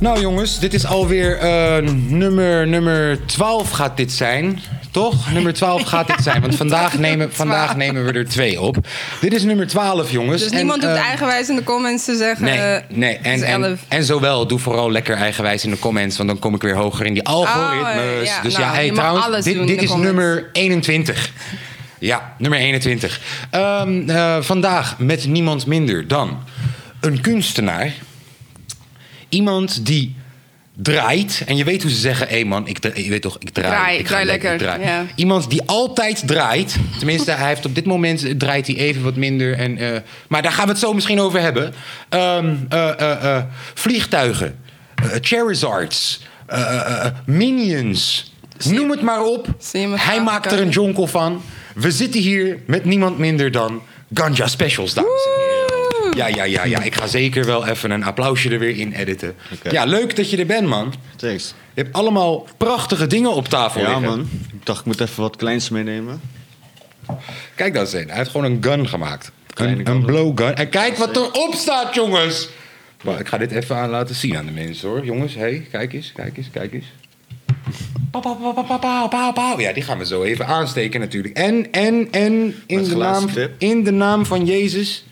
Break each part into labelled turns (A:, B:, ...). A: Nou jongens, dit is alweer eh, nummer, nummer 12 gaat dit zijn. Toch? Nummer 12 gaat dit zijn. Want vandaag nemen, vandaag nemen we er twee op. Dit is nummer 12, jongens.
B: Dus
A: En,
B: niemand hoeft
A: eh,
B: eigenwijs in de comments te zeggen.
A: Nee,
B: eh,
A: nee.
B: het
A: En,
B: is
A: en,
B: elf.
A: en zowel, doe vooral lekker eigenwijs in de comments, want dan kom ik weer hoger in die algoritmes.
B: Oh, ja,
A: dus
B: nou,
A: ja, hey,
B: je mag
A: trouwens,
B: alles
A: dit,
B: doen in
A: dit
B: de
A: is
B: comments.
A: nummer 21. Ja, nummer 21. Ehm, eh, vandaag met niemand minder dan een kunstenaar. Iemand die draait. En je weet hoe ze zeggen, hé man, ik dra- je weet toch, ik draai.
B: Draai,
A: ik
B: draai
A: le-
B: lekker,
A: ik draai.
B: ja.
A: Iemand die altijd draait. Tenminste, hij heeft op dit moment eh, draait hij even wat minder. En, eh, maar daar gaan we het zo misschien over hebben. Ehm, eh, eh, eh, vliegtuigen, eh, Charizards, eh, eh, eh, Minions. Noem het maar op.
B: Zie je me
A: Hij
B: graag
A: maakt er een
B: kijken.
A: jonkel van. We zitten hier met niemand minder dan Ganja Specials, dames en heren. Ja, ja, ja, ja. Ik ga zeker wel even een applausje er weer in editen.
C: Oké.
A: Ja, leuk dat je er bent, man.
C: Thanks.
A: Je hebt allemaal prachtige dingen op tafel
C: Ja,
A: liggen.
C: man. Ik dacht, ik moet even wat kleins meenemen.
A: Kijk dat eens in. Hij heeft gewoon een gun gemaakt.
C: Kleine
A: Een,
C: gun.
A: een blowgun. En kijk wat erop staat, jongens. Maar ik ga dit even aan laten zien aan de mensen, hoor. Jongens, hé, hey, kijk eens, kijk eens, kijk eens. Pauw, pauw, pauw, pauw, pauw, pauw, pauw. Ja, die gaan we zo even aansteken natuurlijk. En, en, en, in,
C: Met
A: de
C: glazen
A: naam,
C: tip.
A: in de naam van Jezus,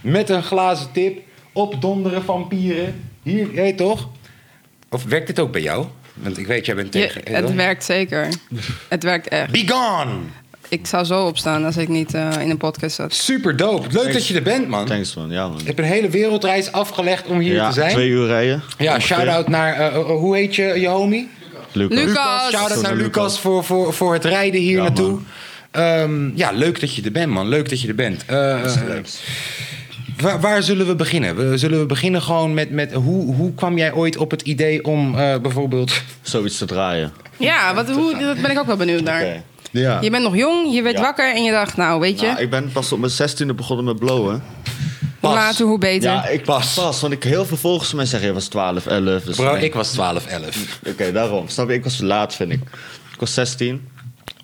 A: met een glazen tip, opdonderen vampieren. Hier, hé, toch? Of werkt dit ook bij jou? Want ik weet, jij bent
B: je-
A: tegen... eh, hé,
B: het
A: toch?
B: werkt zeker. het werkt echt.
A: Be gone!
B: Ik zou zo opstaan als ik niet eh, in een podcast zat.
A: Super dope. Leuk dat je er bent, man.
C: Thanks, man. Ja, man.
A: Ik heb een hele wereldreis afgelegd om hier
C: ja,
A: te zijn.
C: twee uur rijden.
A: Ja,
C: Ongeveer.
A: shout-out naar, eh, eh, hoe heet je, je homie?
C: Lucas.
B: Lucas.
A: Shout-out
C: Zo
A: naar
C: naar
A: Lucas
C: Lucas.
A: voor, voor, voor het rijden hier
C: Ja,
A: naartoe.
C: man.
A: Ehm, ja, leuk dat je er bent, man. Leuk dat je er bent. Eh, eh, waar, waar zullen we beginnen? We, zullen we beginnen gewoon met, met hoe, hoe kwam jij ooit op het idee om eh, bijvoorbeeld...
C: Zoiets te draaien.
B: Ja, wat, hoe, dat ben ik ook wel benieuwd naar.
C: Oké.
A: Ja.
B: Je bent nog jong, je werd
C: Ja.
B: wakker en je dacht, nou weet je,
C: Nou, ik ben pas op mijn zestiende begonnen met blowen.
B: hoe
A: pas.
B: later hoe beter.
C: Ja, ik
A: Pas.
C: pas. Pas, want ik heel veel volgers van mij zeggen, je was 12, 11. Dus
A: Bro,
C: nee.
A: ik was 12, 11.
C: Oké, daarom. Snap je? Ik was laat, vind ik. Ik was 16,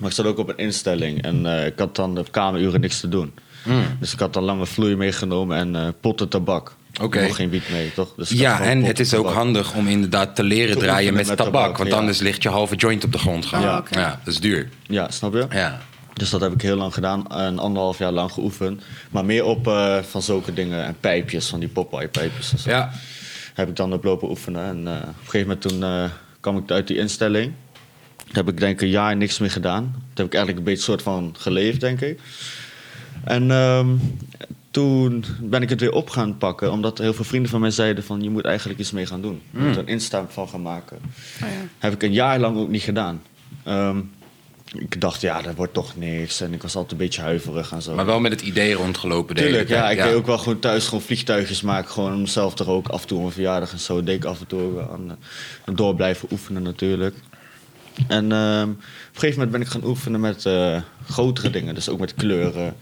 C: maar ik zat ook op een instelling. En eh, ik had dan op kameruren niks te doen.
A: Hmm.
C: Dus ik had dan lange vloei meegenomen en eh, potten tabak.
A: Oké.
C: Nog geen wiet mee, toch? Dus ik had
A: Ja,
C: gewoon
A: en het
C: potten
A: is ook
C: tabak.
A: handig om inderdaad te leren
C: Te
A: draaien
C: oefenen
A: met,
C: met
A: tabak.
C: tabak,
A: Want
C: ja.
A: anders ligt je halve joint op de grond gewoon.
B: Ja. oké.
A: ja, dat is duur.
C: Ja, snap je?
A: Ja.
C: Dus dat heb ik heel lang gedaan, een anderhalf jaar lang geoefend. Maar meer op eh, van zulke dingen en pijpjes, van die Popeye-pijpjes en zo.
A: Ja.
C: Heb ik dan op lopen oefenen. En eh, op een gegeven moment toen eh, kwam ik uit die instelling. Toen heb ik denk ik een jaar niks meer gedaan. Toen heb ik eigenlijk een beetje soort van geleefd, denk ik. En ehm, toen ben ik het weer op gaan pakken, omdat heel veel vrienden van mij zeiden van... je moet eigenlijk iets mee gaan doen. Je moet er een Insta van gaan maken. Heb ik een jaar lang ook niet gedaan. Ehm, ik dacht, ja, dat wordt toch niks. En ik was altijd een beetje huiverig en zo.
A: Maar wel met het idee rondgelopen. de hele
C: Tuurlijk, ja.
A: tijd,
C: Ik deed ook wel gewoon thuis gewoon vliegtuigjes maken. Gewoon om mezelf er ook af en toe een verjaardag en zo. Deed ik af en toe ook wel aan eh, door blijven oefenen natuurlijk. En ehm, op een gegeven moment ben ik gaan oefenen met eh, grotere dingen. Dus ook met kleuren.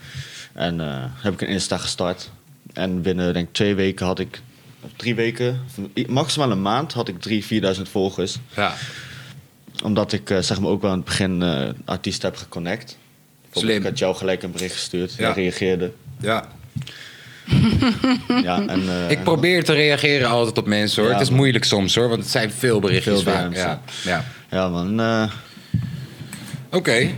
C: En eh, heb ik een Insta gestart. En binnen denk ik twee weken had ik... of Drie weken, of i- maximaal een maand had ik drie, 4000 volgers.
A: Ja.
C: Omdat ik eh, zeg maar ook wel aan het begin eh artiesten heb geconnect. Bijvoorbeeld,
A: Slim.
C: Ik had jou gelijk een bericht gestuurd.
A: Ja.
C: Jij reageerde.
A: Ja.
C: Ja, en, eh,
A: Ik probeer te reageren altijd op mensen hoor.
C: Ja,
A: het is
C: man.
A: moeilijk soms hoor, want het zijn veel berichtjes
C: Veel
A: vaak.
C: DM's,
A: Ja. Ja.
C: Ja, man. eh,
A: Oké.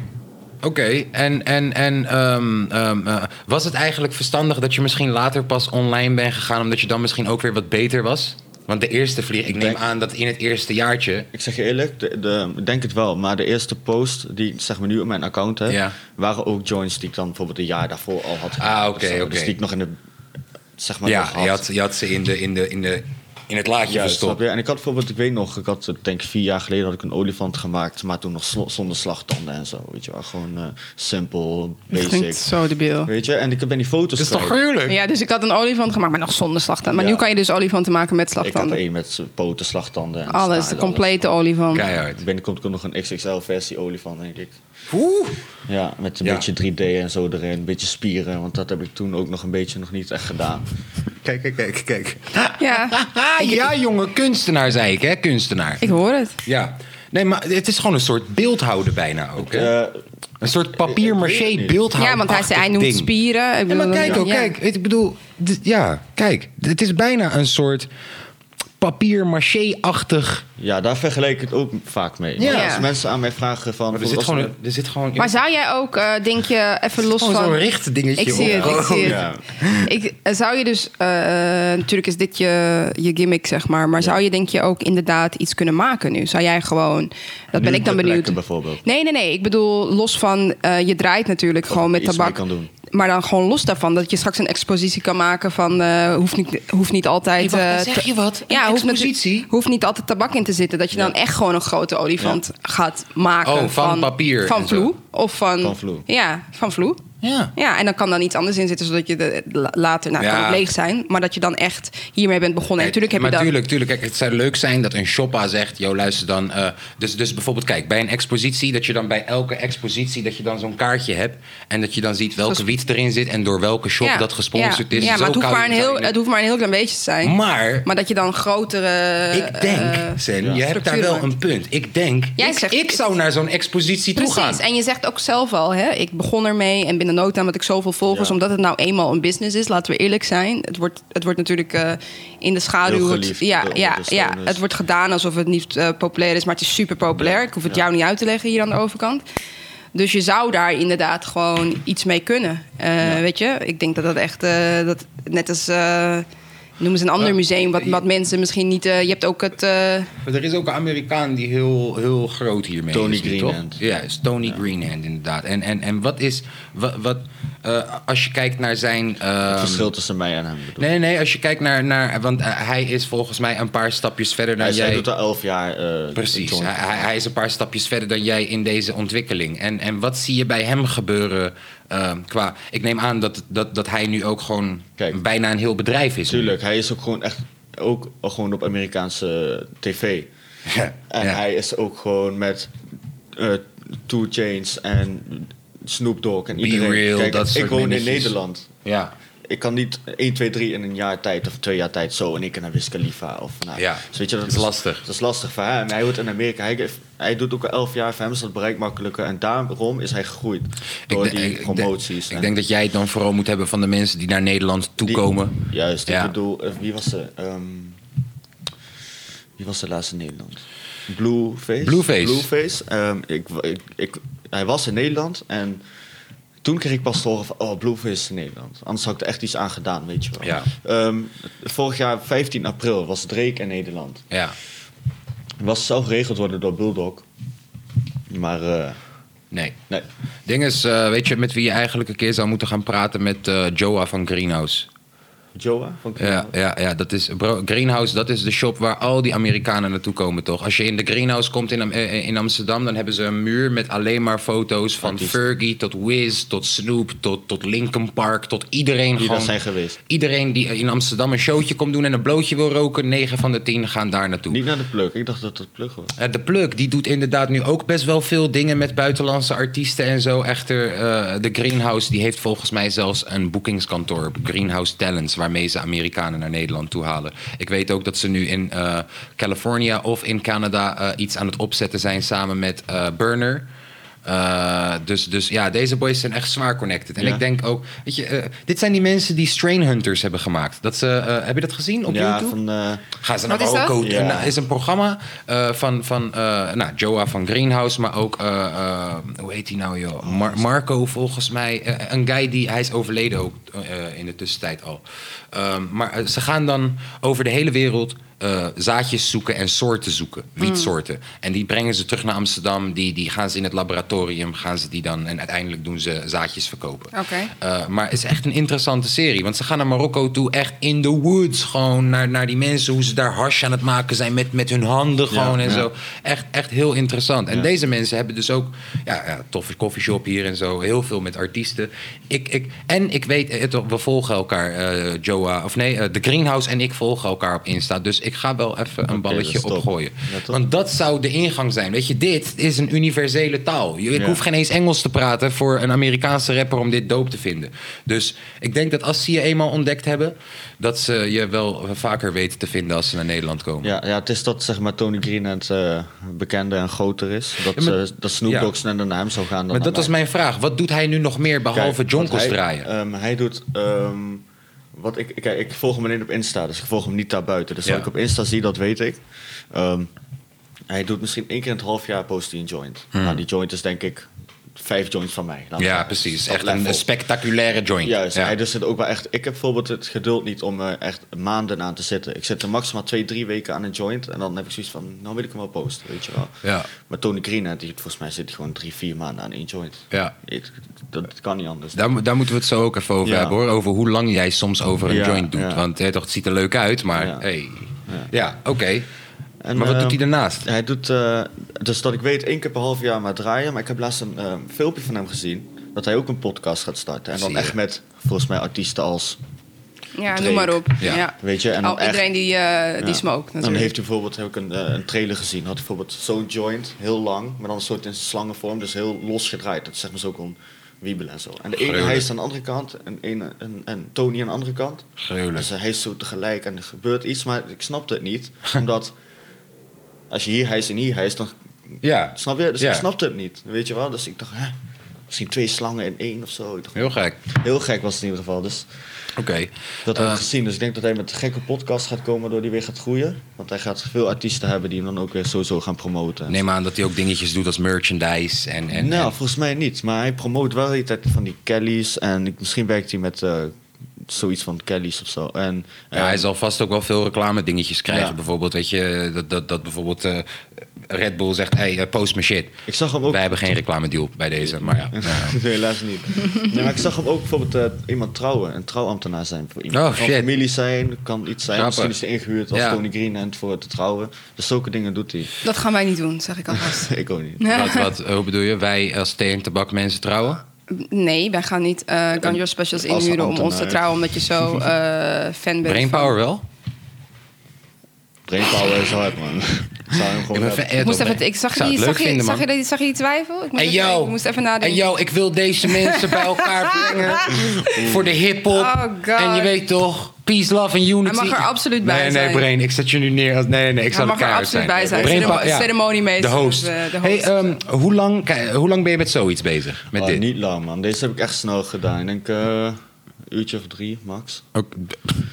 A: Oké, en, en, en ehm, ehm, eh, was het eigenlijk verstandig dat je misschien later pas online bent gegaan, omdat je dan misschien ook weer wat beter was? Want de eerste vlieg, ik neem
C: denk-
A: aan dat in het eerste jaartje.
C: ik zeg je eerlijk, de, de, ik denk het wel. Maar de eerste post die ik zeg maar, nu op mijn account heb,
A: Ja.
C: waren ook joints die ik dan bijvoorbeeld een jaar daarvoor al had.
A: Ah, oké,
C: Dus, eh,
A: oké.
C: Dus die ik nog in de, zeg maar, nog
A: Ja,
C: had.
A: je had, je had ze in, de, in, de, in, de, in het laadje
C: Juist, snap
A: verstopt.
C: je? En ik had bijvoorbeeld, ik weet nog, ik had eh, denk ik vier jaar geleden had ik een olifant gemaakt, maar toen nog slo- zonder slagtanden en zo. Weet je wel, gewoon eh, simpel,
B: dat klinkt
C: basic.
B: zo debiel.
C: Weet je, en ik ben die foto's
A: Dat is toch
C: kwijt.
A: gruwelijk?
B: Ja, dus ik had een olifant gemaakt, maar nog zonder slagtanden. Maar
C: Ja.
B: nu kan je dus olifanten maken met
C: Ik had er
B: slagtanden.
C: één met z'n poten, slagtanden. En
B: alles, de
C: staarden,
B: complete olifant.
A: Keihard.
C: alles. Binnenkort komt nog een XXL-versie olifant, denk ik.
A: Oeh.
C: Ja, met een
A: Ja.
C: beetje 3D en zo erin, een beetje spieren, want dat heb ik toen ook nog een beetje nog niet echt gedaan.
A: Kijk, kijk, kijk, kijk.
B: Ja,
A: Ah, ja, jongen, kunstenaar zei ik, hè? Kunstenaar.
B: ik hoor het.
A: Ja. Nee, maar het is gewoon een soort beeldhouden bijna ook, hè?
C: Eh,
A: een soort papier-maché beeldhouden.
B: Ja, want hij, zei, hij noemt spieren. Ik
A: Ja, maar oh,
B: bedoel,
A: kijk ook,
B: ja.
A: kijk. Ik bedoel, dit- ja, kijk. Het is bijna een soort papier maché-achtig.
C: Ja, daar vergelijk ik het ook vaak mee.
A: Ja.
C: Want Als
B: Ja.
C: mensen aan mij vragen van...
A: Maar er zit
C: als-
A: gewoon, een- er zit gewoon,
B: Maar zou jij ook, eh, denk je, even los
A: gewoon
B: van...
A: zo'n richt dingetje
B: Ik zie
A: op.
B: het, ik zie het.
C: Oh, Ja.
B: Ik, eh, zou je dus, eh, eh, natuurlijk is dit je, je gimmick, zeg maar. Maar zou je denk je ook inderdaad iets kunnen maken nu? Zou jij gewoon, dat ben
C: Nu
B: ik dan
C: ter plekke
B: benieuwd.
C: bijvoorbeeld.
B: Nee, nee, nee. Ik bedoel, los van, eh, je draait natuurlijk gewoon met
C: iets
B: tabak.
C: mee kan doen.
B: Maar dan gewoon los daarvan, dat je straks een expositie kan maken van, eh, hoeft, niet, hoeft niet altijd...
A: Hey, wacht,
B: eh,
A: dan
B: te-
A: zeg je wat? Een
B: Ja, hoeft, natu-
A: expositie?
B: hoeft niet altijd tabak in te zitten. Dat je dan echt gewoon een grote olifant gaat maken.
A: Oh, van papier
B: Van
A: en zo.
B: vloe. Of van...
C: Van vloe.
B: Ja, van vloe.
A: Ja.
B: Ja, en dan kan dan iets anders in zitten, zodat je de, la- later, nou,
A: Ja.
B: kan het leeg zijn, maar dat je dan echt hiermee bent begonnen. En natuurlijk heb
A: maar
B: je dan.
A: tuurlijk, tuurlijk. Kijk, het zou leuk zijn dat een shoppa zegt... joh, luister dan... eh, dus, dus bijvoorbeeld, kijk, bij een expositie... dat je dan bij elke expositie dat je dan zo'n kaartje hebt... en dat je dan ziet welke
B: Ges-
A: wiet erin zit... en door welke shop
B: Ja,
A: dat gesponsord
B: ja,
A: is.
B: Ja,
A: Zo
B: maar het hoeft,
A: kan
B: maar
A: je-
B: een heel,
A: zou je-
B: het hoeft maar een heel klein beetje te zijn.
A: Maar,
B: Maar dat je dan grotere.
A: ik denk,
B: eh,
A: Sen,
C: ja.
A: je hebt daar wel
B: structuren
A: een punt. Ik denk,
B: Jij
A: ik,
B: zegt-
A: ik zou naar zo'n expositie toe gaan.
B: Precies, en je zegt ook zelf al, hè, ik begon ermee en binnen nood aan had ik zoveel volgers,
C: Ja.
B: omdat het nou eenmaal een business is, laten we eerlijk zijn. Het wordt, het wordt natuurlijk eh, in de schaduw.
C: Heel
B: wordt-
C: geliefd
B: ja,
C: door
B: ja, ja,
C: ondersteuners.
B: het wordt gedaan alsof het niet eh, populair is, maar het is super populair. Ik hoef het jou niet uit te leggen hier aan de overkant. Dus je zou daar inderdaad gewoon iets mee kunnen. Eh, Weet je, ik denk dat dat echt, eh, dat, net als. eh, Noem eens een ander
A: Ja.
B: museum,
C: eh,
B: wat, wat mensen misschien niet... eh, je hebt ook het... eh,
A: Maar er is ook een Amerikaan die heel, heel groot hiermee
C: Tony
A: is. nu,
C: Greenhand.
A: toch? Ja, is Tony Greenhand inderdaad. En, en, en wat is... Wat, wat, eh, als je kijkt naar zijn... ehm,
C: Het verschil tussen mij en hem. bedoel ik.
A: Nee, nee, als je kijkt naar... naar want eh, hij is volgens mij een paar stapjes verder dan
C: Hij
A: jij.
C: zij doet al elf jaar. eh,
A: Precies.
C: joint.
A: Hij, hij- hij is een paar stapjes verder dan jij in deze ontwikkeling. En, en wat zie je bij hem gebeuren ehm, qua... Ik neem aan dat, dat, dat hij nu ook gewoon
C: Kijk.
A: bijna een heel bedrijf is. nu.
C: Tuurlijk, hij is ook gewoon echt ook gewoon op Amerikaanse tv.
A: Ja,
C: En
A: ja.
C: hij is ook gewoon met eh Two Chains en Snoop Dogg en iedereen.
A: Real,
C: Kijk,
A: dat
C: ik
A: soort
C: woon in
A: dingetjes.
C: Nederland.
A: Ja.
C: Ik kan niet 1, 2, 3 in een jaar tijd of twee jaar tijd zo en ik naar Wiz Khalifa. Of, nou,
A: Ja,
C: dus weet je, dat
A: dat is lastig.
C: Dat is lastig voor hem. Hij wordt in Amerika, hij, heeft- hij doet ook al 11 jaar, voor hem is dat bereik makkelijker. En daarom is hij gegroeid door
A: denk-
C: die
A: denk-
C: promoties.
A: Ik
C: en-
A: denk dat jij het dan vooral moet hebben van de mensen die naar Nederland
C: Die-
A: toekomen.
C: Juist,
A: Ja.
C: ik bedoel, eh, wie was ze? Ehm, wie was de laatste in Nederland? Blueface.
A: Blueface.
C: Blueface. Ehm, ik, wa- ik, ik, hij was in Nederland en toen kreeg ik pas te horen van, oh, Blueface is in Nederland. Anders had ik er echt iets aan gedaan, weet je wel.
A: Ja.
C: Ehm, vorig jaar, 15 april, was Drake in Nederland.
A: Ja.
C: Was zelf geregeld worden door Bulldog. Maar, eh,
A: Nee.
C: nee.
A: Ding is, eh, weet je met wie je eigenlijk een keer zou moeten gaan praten met eh, Joa van Greenhouse?
C: Joa van
A: Ja, ja, ja, dat is. Bro, Greenhouse, dat is de shop waar al die Amerikanen naartoe komen, toch? Als je in de Greenhouse komt in, Am- eh, eh, in Amsterdam, dan hebben ze een muur met alleen maar foto's van
C: Artiesten.
A: Fergie tot Wiz, tot Snoop, tot, tot Linkin Park, tot iedereen
C: Die daar
A: gewoon.
C: zijn geweest.
A: Iedereen die in Amsterdam een showtje komt doen en een blootje wil roken, 9 van de 10 gaan daar naartoe.
C: Niet naar de pluk, ik dacht dat dat pluk was.
A: Eh, de Pluk, die doet inderdaad nu ook best wel veel dingen met buitenlandse artiesten en zo. Echter, eh, de Greenhouse, die heeft volgens mij zelfs een boekingskantoor. Greenhouse Talents, waarmee ze Amerikanen naar Nederland toe halen. Ik weet ook dat ze nu in eh California of in Canada eh, iets aan het opzetten zijn samen met eh, Burner. Eh, dus, dus ja, deze boys zijn echt zwaar connected. En
C: Ja.
A: ik denk ook, weet je, eh, dit zijn die mensen die Strain Hunters hebben gemaakt. Dat ze, eh, heb je dat gezien op
C: ja,
A: YouTube?
C: van... eh,
A: Gaan ze naar
B: Wat is dat?
A: Marokko?
C: Ja.
A: Het Nou, is een programma eh, van, van eh, nou, Joa van Greenhouse, maar ook, eh, eh, hoe heet hij nou joh? Mar- Marco volgens mij. Eh, een guy die, hij is overleden ook eh, in de tussentijd al. Ehm, maar eh, ze gaan dan over de hele wereld eh, zaadjes zoeken en soorten zoeken.
B: Mm.
A: Wietsoorten. En die brengen ze terug naar Amsterdam. Die, die gaan ze in het laboratorium, gaan ze die dan. En uiteindelijk doen ze zaadjes verkopen.
B: Oké.
A: Eh, maar het is echt een interessante serie. Want ze gaan naar Marokko toe, echt in the woods. Gewoon naar, naar die mensen, hoe ze daar hash aan het maken zijn met, met hun handen gewoon en
C: ja.
A: zo. Echt, echt heel interessant. En deze mensen hebben dus ook, ja, ja toffe koffieshop hier en zo. Heel veel met artiesten. Ik, ik, en ik weet, eh, het, we volgen elkaar, eh, Joa, of nee, eh, de Greenhouse en ik volgen elkaar op Insta. Dus ik ga wel even een
C: dat
A: balletje
C: is top.
A: opgooien.
C: Ja, toch?
A: Want dat zou de ingang zijn. Weet je, dit is een universele taal. Je, ik
C: Ja.
A: hoef geen eens Engels te praten voor een Amerikaanse rapper om dit doop te vinden. Dus ik denk dat als ze je eenmaal ontdekt hebben, dat ze je wel vaker weten te vinden als ze naar Nederland komen.
C: Ja, ja, het is dat zeg maar, Tony Green het bekender en groter is. Dat,
A: Ja, maar-
C: eh, dat Snoop
A: ja.
C: Dogg sneller naar hem zou gaan dan
A: Maar dat
C: naar
A: was mijn vraag. Wat doet hij nu nog meer
C: mij.
A: behalve
C: Kijk,
A: jonkels
C: want hij,
A: draaien?
C: ehm, hij doet ehm, Wat ik, kijk, ik volg hem alleen op Insta, dus ik volg hem niet daarbuiten. Dus
A: Ja.
C: wat ik op Insta zie, dat weet ik. Ehm, hij doet misschien één keer in het half jaar post hij een joint. Nou, die joint is denk ik vijf joints van mij. Laten we
A: Hmm. Ja,
C: zeggen.
A: precies.
C: Dat
A: Echt een
C: level.
A: spectaculaire joint.
C: Juist,
A: ja.
C: hij dus zit ook wel echt... Ik heb bijvoorbeeld het geduld niet om er echt maanden aan te zitten. Ik zit er maximaal twee, drie weken aan een joint. En dan heb ik zoiets van, nou wil ik hem wel posten, weet je wel.
A: Ja.
C: Maar Tony Green, die, volgens mij zit hij gewoon drie, vier maanden aan één joint.
A: Ja.
C: Ik- dat kan niet anders.
A: Daar, mo- daar moeten we het zo ook even over
C: Ja.
A: hebben hoor. Over hoe lang jij soms over een
C: Ja,
A: joint doet.
C: ja.
A: Want hè, toch, het ziet er leuk uit, maar
C: Ja.
A: hey. Ja, oké.
C: En,
A: maar wat doet
C: ehm,
A: hij daarnaast?
C: Hij doet, eh, dus dat ik weet, één keer per half jaar maar draaien. Maar ik heb laatst een eh, filmpje van hem gezien. Dat hij ook een podcast gaat starten. En
A: Zie
C: dan
A: je.
C: echt met, volgens mij, artiesten als...
B: Ja,
C: Drake.
B: noem maar op.
A: Ja.
B: Ja.
C: Weet je, en dan
B: Al,
C: echt-
B: iedereen die, eh die
C: Ja.
B: smoke
C: Dan
B: natuurlijk.
C: heeft hij bijvoorbeeld, heb ik een, eh, een trailer gezien. Had hij bijvoorbeeld zo'n joint, heel lang. Maar dan een soort in slangenvorm, dus heel los gedraaid. Dat zeg maar zo kon wiebelen en zo. En de ene
A: Gruwelijk.
C: hij is aan de andere kant. En, een, en, en Tony aan de andere kant.
A: Gruwelijk.
C: Dus hij is zo tegelijk en er gebeurt iets. Maar ik snapte het niet. omdat als je hier hijst en hier hijst, dan
A: Ja,
C: Snap je? Dus
A: Ja.
C: ik snapte het niet. Weet je wel? Dus ik dacht, hè, misschien twee slangen in één of zo. Ik dacht,
A: heel gek.
C: heel gek was het in ieder geval. Dus
A: Oké.
C: dat heb
A: Eh,
C: ik gezien. Dus ik denk dat hij met een gekke podcast gaat komen, door die weer gaat groeien. Want hij gaat veel artiesten hebben die hem dan ook weer sowieso gaan promoten.
A: neem aan dat hij ook dingetjes doet als merchandise en... en
C: nou,
A: en-
C: volgens mij niet. Maar hij promoot wel de hele tijd van die Kellys. En ik, misschien werkt hij met eh, zoiets van Kellys of zo. En,
A: ja,
C: eh,
A: hij zal vast ook wel veel reclame dingetjes krijgen.
C: Ja.
A: Bijvoorbeeld, weet je, dat, dat, dat bijvoorbeeld eh, Red Bull zegt, hey, eh, post me shit.
C: ik zag hem ook
A: Wij hebben geen reclame deal bij deze, maar ja. ja.
C: Nee, helaas niet. Nee, maar ik zag hem ook bijvoorbeeld eh, iemand trouwen, een trouwambtenaar zijn voor iemand.
A: Oh,
C: kan
A: shit.
C: familie zijn, kan iets zijn.
A: Grappig.
C: Misschien is hij ingehuurd als
A: Ja.
C: Tony Green en voor te trouwen. Dus zulke dingen doet hij.
B: Dat gaan wij niet doen, zeg ik alvast.
C: ik ook niet.
A: Wat, wat, eh, hoe bedoel je? Wij als thee en tabak mensen trouwen?
B: Nee, wij gaan niet eh Gun Your Specials
C: Als
B: inhuren om ons te
C: ambtenaar.
B: trouwen, omdat je zo eh fan bent.
A: Brainpower wel?
C: Brainpower is hard, man. Ik Zou hem gewoon
A: Ik ben
C: hebben.
A: fan-
B: Ik, moest
A: Ed
B: even,
A: opbrengen.
B: ik zag,
A: zou
B: je,
A: het
B: zag,
A: leuk
B: je,
A: vinden,
B: zag,
A: man.
B: je, dat- zag je die twijfel? Ik moest,
A: En
B: even,
A: yo,
B: ik moest even nadenken.
A: En yo, ik wil deze mensen bij elkaar brengen. voor de hip-hop.
B: Oh, God.
A: en je weet toch, peace, love en unity.
B: Hij mag er absoluut bij
A: nee, Nee,
B: zijn.
A: Brain, ik zet je nu neer. Als, nee, nee, nee, ik zal
B: mag er
A: keihard
B: absoluut bij zijn.
A: Brain
B: Ceremo-
A: pa- ja.
B: ceremoniemeester,
A: De host.
B: dus, eh, de
A: hey,
B: host.
A: ehm, hoe, lang, kijk, hoe lang ben je met zoiets bezig? Met
C: Oh,
A: dit?
C: Niet lang, man. Deze heb ik echt snel gedaan. Ik denk eh, een uurtje of drie, max.
A: Ook-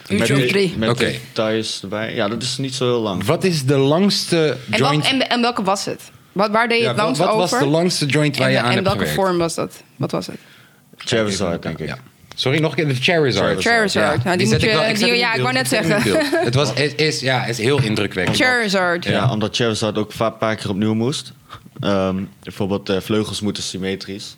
B: Uurtje
C: met
B: of drie.
C: Met
A: Oké.
C: de thuis erbij. Ja, dat is niet zo heel lang.
A: wat is de langste
B: en, wat,
A: joint...
B: en, en welke was het? Wat, waar deed je
A: ja,
B: het
A: wat
B: langs
A: wat
B: over?
A: was de langste joint waar
B: en,
A: je aan
B: en
A: hebt
B: welke
A: gewerkt?
B: vorm was dat? Wat was het?
C: Charizard, denk ik.
A: Ja. Sorry, nog een keer. De Charizard.
B: Charizard. Nou, die moet
A: zet ik
B: je-
A: wel- ik zet
B: die-
A: hem in
B: ja, ik
A: beeld.
B: wou net
A: zet hem in
B: zeggen.
A: beeld. Het was, is, is, ja, is heel indrukwekkend.
B: Charizard.
C: Ja, omdat Charizard ook va- een paar keer opnieuw moest. Ehm, bijvoorbeeld eh, vleugels moeten symmetrisch.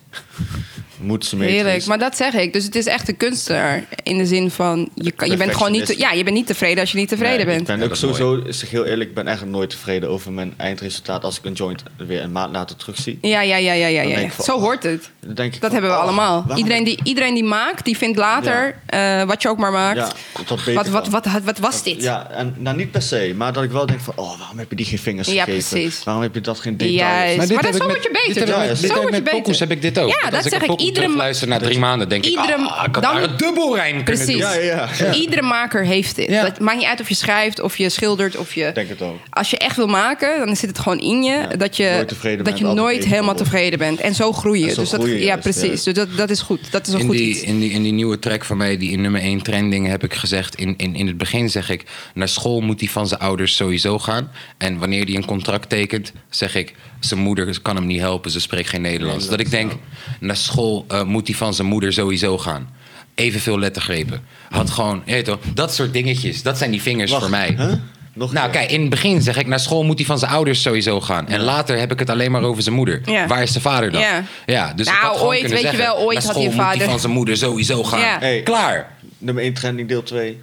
C: Moet symmetrisch.
B: Heerlijk, maar dat zeg ik. Dus het is echt een kunstenaar. In de zin van, je, kan, je, bent, gewoon niet, te- ja, je bent niet tevreden als je niet tevreden
C: Nee,
B: bent.
C: Ik ben
A: Ja,
C: ook
A: dat is
C: sowieso, zeg heel eerlijk, ik ben echt nooit tevreden over mijn eindresultaat als ik een joint weer een maand later terugzie.
B: Ja, ja, ja, ja, ja.
C: Dan
B: ja,
C: denk
B: ja.
C: ik van,
B: Zo
C: oh,
B: hoort het.
C: Dan denk ik
B: Dat
C: van,
B: hebben we
C: oh,
B: allemaal.
C: waarom-
B: Iedereen die, iedereen die maakt, die vindt later, eh, wat je ook maar maakt,
C: Ja, dat beter
B: wat, wat,
C: kan.
B: wat, wat, wat was dit?
C: Ja, en nou niet per se, maar dat ik wel denk van, oh, waarom heb je die geen vingers
B: Ja,
C: gegeven?
B: precies.
C: Waarom heb je dat geen detail?
B: Juist. Maar
A: dit
B: dat-
A: heb
B: zo
A: ik
B: word je beter,
A: dit heb ik
C: toch?
A: met-
C: Zo
A: dit heb ik
B: word je
A: met
B: beter.
A: pokus heb ik dit ook.
B: Ja,
A: Want als
B: dat zeg
A: ik.
B: ik.
A: een pokoe
B: Iedere ma-
A: terugluister na drie maanden, denk ik,
B: Iedere-
A: ah, ik had
B: dan-
A: daar een dubbelrijm kunnen
B: Precies.
A: doen.
C: Ja, ja, ja.
B: Iedere maker heeft dit.
A: Ja.
B: Dat maakt niet uit of je schrijft, of je schildert, of je...
C: Ik denk het ook.
B: Als je echt wil maken, dan zit het gewoon in je dat je
C: nooit tevreden
B: dat
C: bent,
B: je
C: altijd
B: nooit
C: even
B: helemaal
C: op.
B: tevreden bent. En zo groei je.
C: En zo
B: dus
C: groei
B: dat,
C: je
B: ja,
C: juist,
B: precies. Dus dat, dat is goed. Dat is een
A: In
B: goed
A: die,
B: iets.
A: in, die, in die nieuwe track van mij, die in nummer 1 trending, heb ik gezegd... In, in, in het begin zeg ik, naar school moet hij van zijn ouders sowieso gaan. En wanneer hij een contract tekent, zeg ik... zijn moeder kan hem niet helpen, ze spreekt geen Nederlands. Dat ik denk, naar school eh, moet hij van zijn moeder sowieso gaan. Evenveel lettergrepen. Had gewoon, je weet toch, dat soort dingetjes. Dat zijn die vingers
C: Wacht,
A: voor mij.
C: hè? Nog een
A: nou,
C: keer.
A: kijk, in het begin zeg ik, naar school moet hij van zijn ouders sowieso gaan. En later heb ik het alleen maar over zijn moeder.
B: Ja.
A: Waar is zijn vader dan?
B: Ja.
A: Ja, dus ik
B: Nou,
A: had gewoon
B: ooit,
A: kunnen
B: weet je
A: zeggen,
B: wel, ooit
A: naar
B: had
A: school
B: je
A: moet hij
B: vader-
A: van zijn moeder sowieso gaan.
B: Ja.
C: Hey.
A: Klaar.
C: Nummer 1 trending deel 2.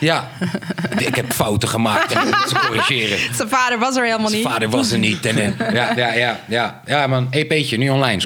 A: Ja. ik heb fouten gemaakt en ik moet ze corrigeren.
B: Zijn vader was er helemaal
A: Zijn
B: niet.
A: vader was er niet. En, en- ja, ja, ja, ja. Ja, man. EP'tje, nu online.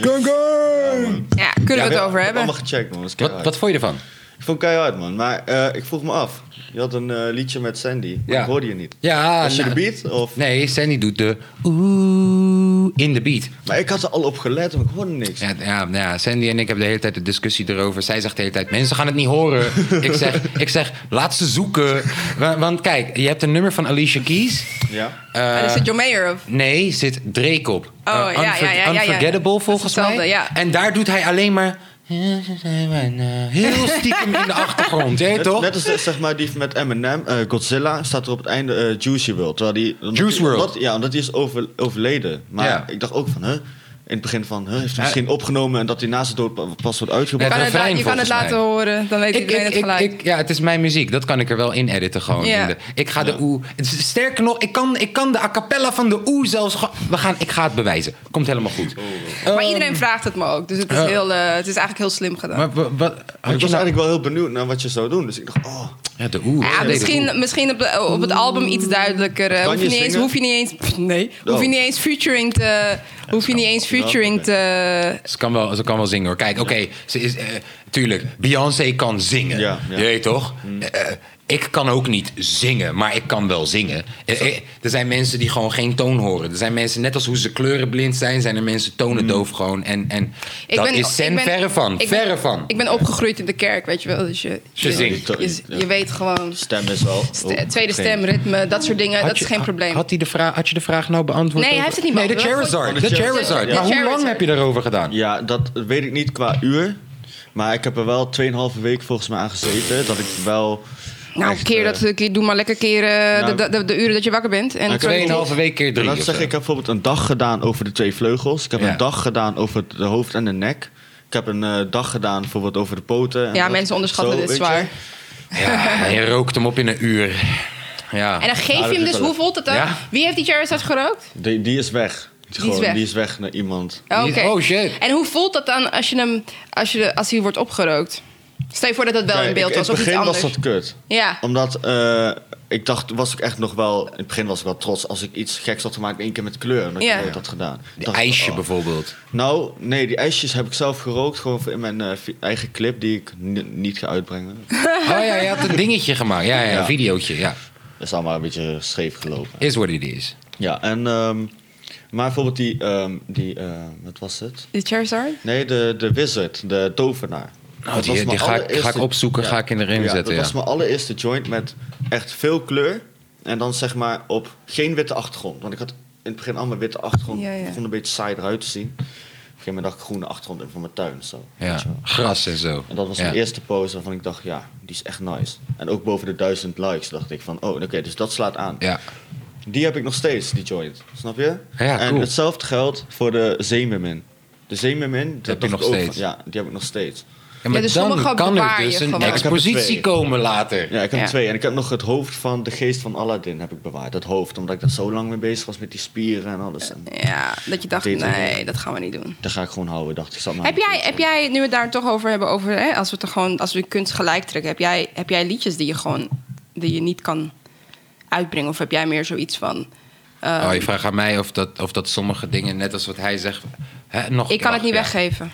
B: Ja, kunnen we het over hebben?
C: Allemaal gecheckt, man. Dat is
A: Wat,
C: keihard.
A: wat vond je ervan?
C: Ik vond het keihard, man. Maar eh, ik vroeg me af. Je had een eh, liedje met Sandy, maar
A: Ja.
C: ik hoorde je niet.
A: Ja,
C: Was je de
A: nou,
C: beat? Of?
A: Nee, Sandy doet de oeh in de beat.
C: Maar ik had er al op gelet, maar ik hoorde niks.
A: Ja, ja, nou ja, Sandy en ik hebben de hele tijd de discussie erover. Zij zegt de hele tijd, mensen gaan het niet horen. ik, zeg, ik zeg, laat ze zoeken. Wa- Want kijk, je hebt een nummer van Alicia Keys.
C: Ja.
B: En
A: eh,
B: is het John Mayer of?
A: Nee, zit Drake op. Eh,
B: Oh, ja, ja, ja, ja, ja.
A: Unforgettable
B: Dat is
A: volgens
B: hetzelfde,
A: mij.
B: ja.
A: En daar doet hij alleen maar... Heel stiekem in de achtergrond, hè
C: Net,
A: toch?
C: net als eh, zeg maar die met Eminem, eh, Godzilla, staat er op het einde eh, Juicy World. Terwijl die, omdat
A: Juice
C: die-
A: WRLD.
C: omdat- ja, omdat die is over, overleden. Maar
A: Ja.
C: ik dacht ook van, hè? In het begin van, hè, heeft hij
A: Ja.
C: misschien opgenomen en dat hij na zijn dood pa- pas wordt
A: Ja,
C: uitgebracht.
B: kan het la-
A: refrein,
B: je kan het
A: volgens
B: laten
A: mij.
B: horen, dan weet
A: Ik,
B: iedereen
A: ik,
B: het
A: ik,
B: gelijk.
A: ik- ja, het is mijn muziek. Dat kan ik er wel in editen gewoon.
B: Ja.
A: In de- ik ga de oe... Sterker nog, ik kan, ik kan de a cappella van de oe zelfs... ge- We gaan, ik ga het bewijzen. Komt helemaal goed.
C: Oh.
B: maar iedereen vraagt het me ook, dus het is,
A: eh,
B: heel, eh, het is eigenlijk heel slim gedaan.
A: Maar wa- wat...
C: Maar ik
A: had je
C: was
A: nou-
C: eigenlijk wel heel benieuwd naar wat je zou doen. Dus ik dacht, oh,
A: Ja, de oe.
B: ja,
A: Nee, de oe.
B: misschien, misschien op, de- op het album iets duidelijker. eh,
C: Kan
B: hoef,
C: je
B: je niet eens,
C: zingen?
B: hoef je niet eens. pff, nee. Hoef
C: Oh.
B: je niet eens featuring te. Hoef je niet eens
C: wel,
B: featuring
C: oké.
B: te.
A: Ze kan, wel, ze kan wel zingen hoor. Kijk, oké, ze is eh, tuurlijk, Beyoncé kan zingen.
C: Ja, ja.
A: Je weet toch? Eh, eh, ik kan ook niet zingen, maar ik kan wel zingen. Eh, eh, er zijn mensen die gewoon geen toon horen. Er zijn mensen, net als hoe ze kleurenblind zijn, zijn er mensen tonendoof gewoon. En, en dat is Sen
B: ben-
A: verre van.
B: ik ben-
A: verre van.
B: Ik ben opgegroeid in de kerk, weet je wel. Dus je,
A: Ze zingt.
B: Je, je weet gewoon.
C: stem is wel...
B: st-
C: oh,
B: tweede
C: geen-
B: stem, ritme, dat soort dingen.
A: Had
B: dat
A: je-
B: is geen
A: had-
B: probleem.
A: Had, hij de vraag, had je de vraag nou beantwoord?
B: Nee, hij
A: over-
B: heeft het niet
A: Nee, de
B: beantwoord.
A: Charizard.
C: Oh, de
A: De
C: Charizard.
A: Charizard.
B: De
A: Maar hoe lang
B: Charizard.
A: heb je daarover gedaan?
C: Ja, dat weet ik niet qua uur. Maar ik heb er wel 2,5 week volgens mij aan gezeten. Dat ik wel...
B: nou,
C: echt,
B: keer
C: eh,
B: dat, keer, doe maar lekker keer eh,
C: Nou,
B: de, de, de uren dat je wakker bent. En
C: Nou,
B: sorry,
A: Tweeënhalve week keer drie.
C: Laat
A: of
C: ik zeggen,
A: zo.
C: ik heb bijvoorbeeld een dag gedaan over de twee vleugels. Ik heb
A: Ja.
C: een dag gedaan over het hoofd en de nek. Ik heb een eh, dag gedaan bijvoorbeeld over de poten. en
B: Ja,
C: dat.
B: mensen onderschatten
C: Zo,
B: dit
C: weet je.
B: zwaar.
A: Ja, je rookt hem op in een uur. Ja.
B: En dan geef
C: Ja,
B: je
C: dat
B: hem
C: is
B: dus,
C: wel
B: hoe voelt het dan?
A: Ja.
B: Wie heeft die Charizard gerookt?
C: Die, die is weg.
B: is
C: Gewoon,
B: weg.
C: Die is weg naar iemand.
B: Oh,
A: Die-
B: oké.
A: oh, shit.
B: En hoe voelt dat dan als, je hem, als, je, als hij wordt opgerookt? Stel je voor dat dat wel
C: Kijk,
B: in beeld
C: ik-
B: was
C: In
B: of
C: het
B: iets
C: begin
B: anders.
C: was dat kut.
B: Ja.
C: Omdat eh, ik dacht, was ik echt nog wel... In het begin was ik wel trots als ik iets geks had gemaakt. in één keer met kleur. En dat
B: Ja.
C: ik nooit had gedaan.
A: Die
C: Dacht ik,
A: ijsje
C: oh.
A: bijvoorbeeld.
C: Nou, nee, die ijsjes heb ik zelf gerookt. Gewoon voor in mijn eh, vi- eigen clip die ik ni- niet ga uitbrengen.
A: Oh ja, je had een dingetje gemaakt. Ja, ja, een
C: Ja.
A: videootje. Ja.
C: Dat is allemaal een beetje scheef gelopen.
A: Is wat het is.
C: Ja, en... ehm, maar bijvoorbeeld die... ehm, die eh, wat was het?
B: De Charizard?
C: Nee, de, de wizard, de tovenaar.
A: Nou,
C: Dat
A: die-
C: was
A: die
C: mijn
A: ga ik-
C: allereerste-
A: ga ik opzoeken, ga ik in de ring
C: ja,
A: zetten,
C: Dat
A: ja.
C: was mijn allereerste joint met echt veel kleur. En dan zeg maar op geen witte achtergrond. Want ik had in het begin allemaal witte achtergrond.
B: Ja, ja.
C: begon een beetje saai eruit te zien. Op een gegeven moment dacht ik groene achtergrond in voor mijn tuin. Zo.
A: Ja.
C: Weet je wel.
A: Gras en zo.
C: En dat was
A: ja.
C: mijn eerste pose waarvan ik dacht, ja, die is echt nice. En ook boven de duizend likes dacht ik van, oh, oké, dus dat slaat aan.
A: Ja.
C: Die heb ik nog steeds, die joint. Snap je?
A: Ja,
C: en
A: cool.
C: hetzelfde geldt voor de zeemermin. De zeemermin, dat
A: heb je
C: dacht
A: nog
C: ik ook van-
A: steeds?
C: Ja, die heb ik nog steeds.
A: Ja, maar
B: dus sommige
A: dan kan er
B: bewaar je
A: dus een
B: gewoon.
C: Ik heb
A: expositie
C: er twee.
A: komen later.
C: Ja, ik heb
B: Ja.
C: er twee. En ik heb nog het hoofd van de geest van Aladdin heb ik bewaard. Dat hoofd, omdat ik daar zo lang mee bezig was met die spieren en alles. En
B: Ja, dat je dacht,
C: Dit en
B: nee, dat gaan we niet doen.
C: dat ga ik gewoon houden, dacht ik. Zat maar
B: Heb
C: aan de
B: jij,
C: kant.
B: heb jij, nu we het daar toch over hebben, over, hè, als, we het er gewoon, als we kunst gelijk trekken, heb jij, heb jij liedjes die je gewoon die je niet kan uitbrengen? Of heb jij meer zoiets van, eh,
A: Oh, je vraagt aan mij of dat, of dat sommige dingen, net als wat hij zegt... Hè, nog,
B: ik kan
A: wacht,
B: het niet
A: ja.
B: weggeven?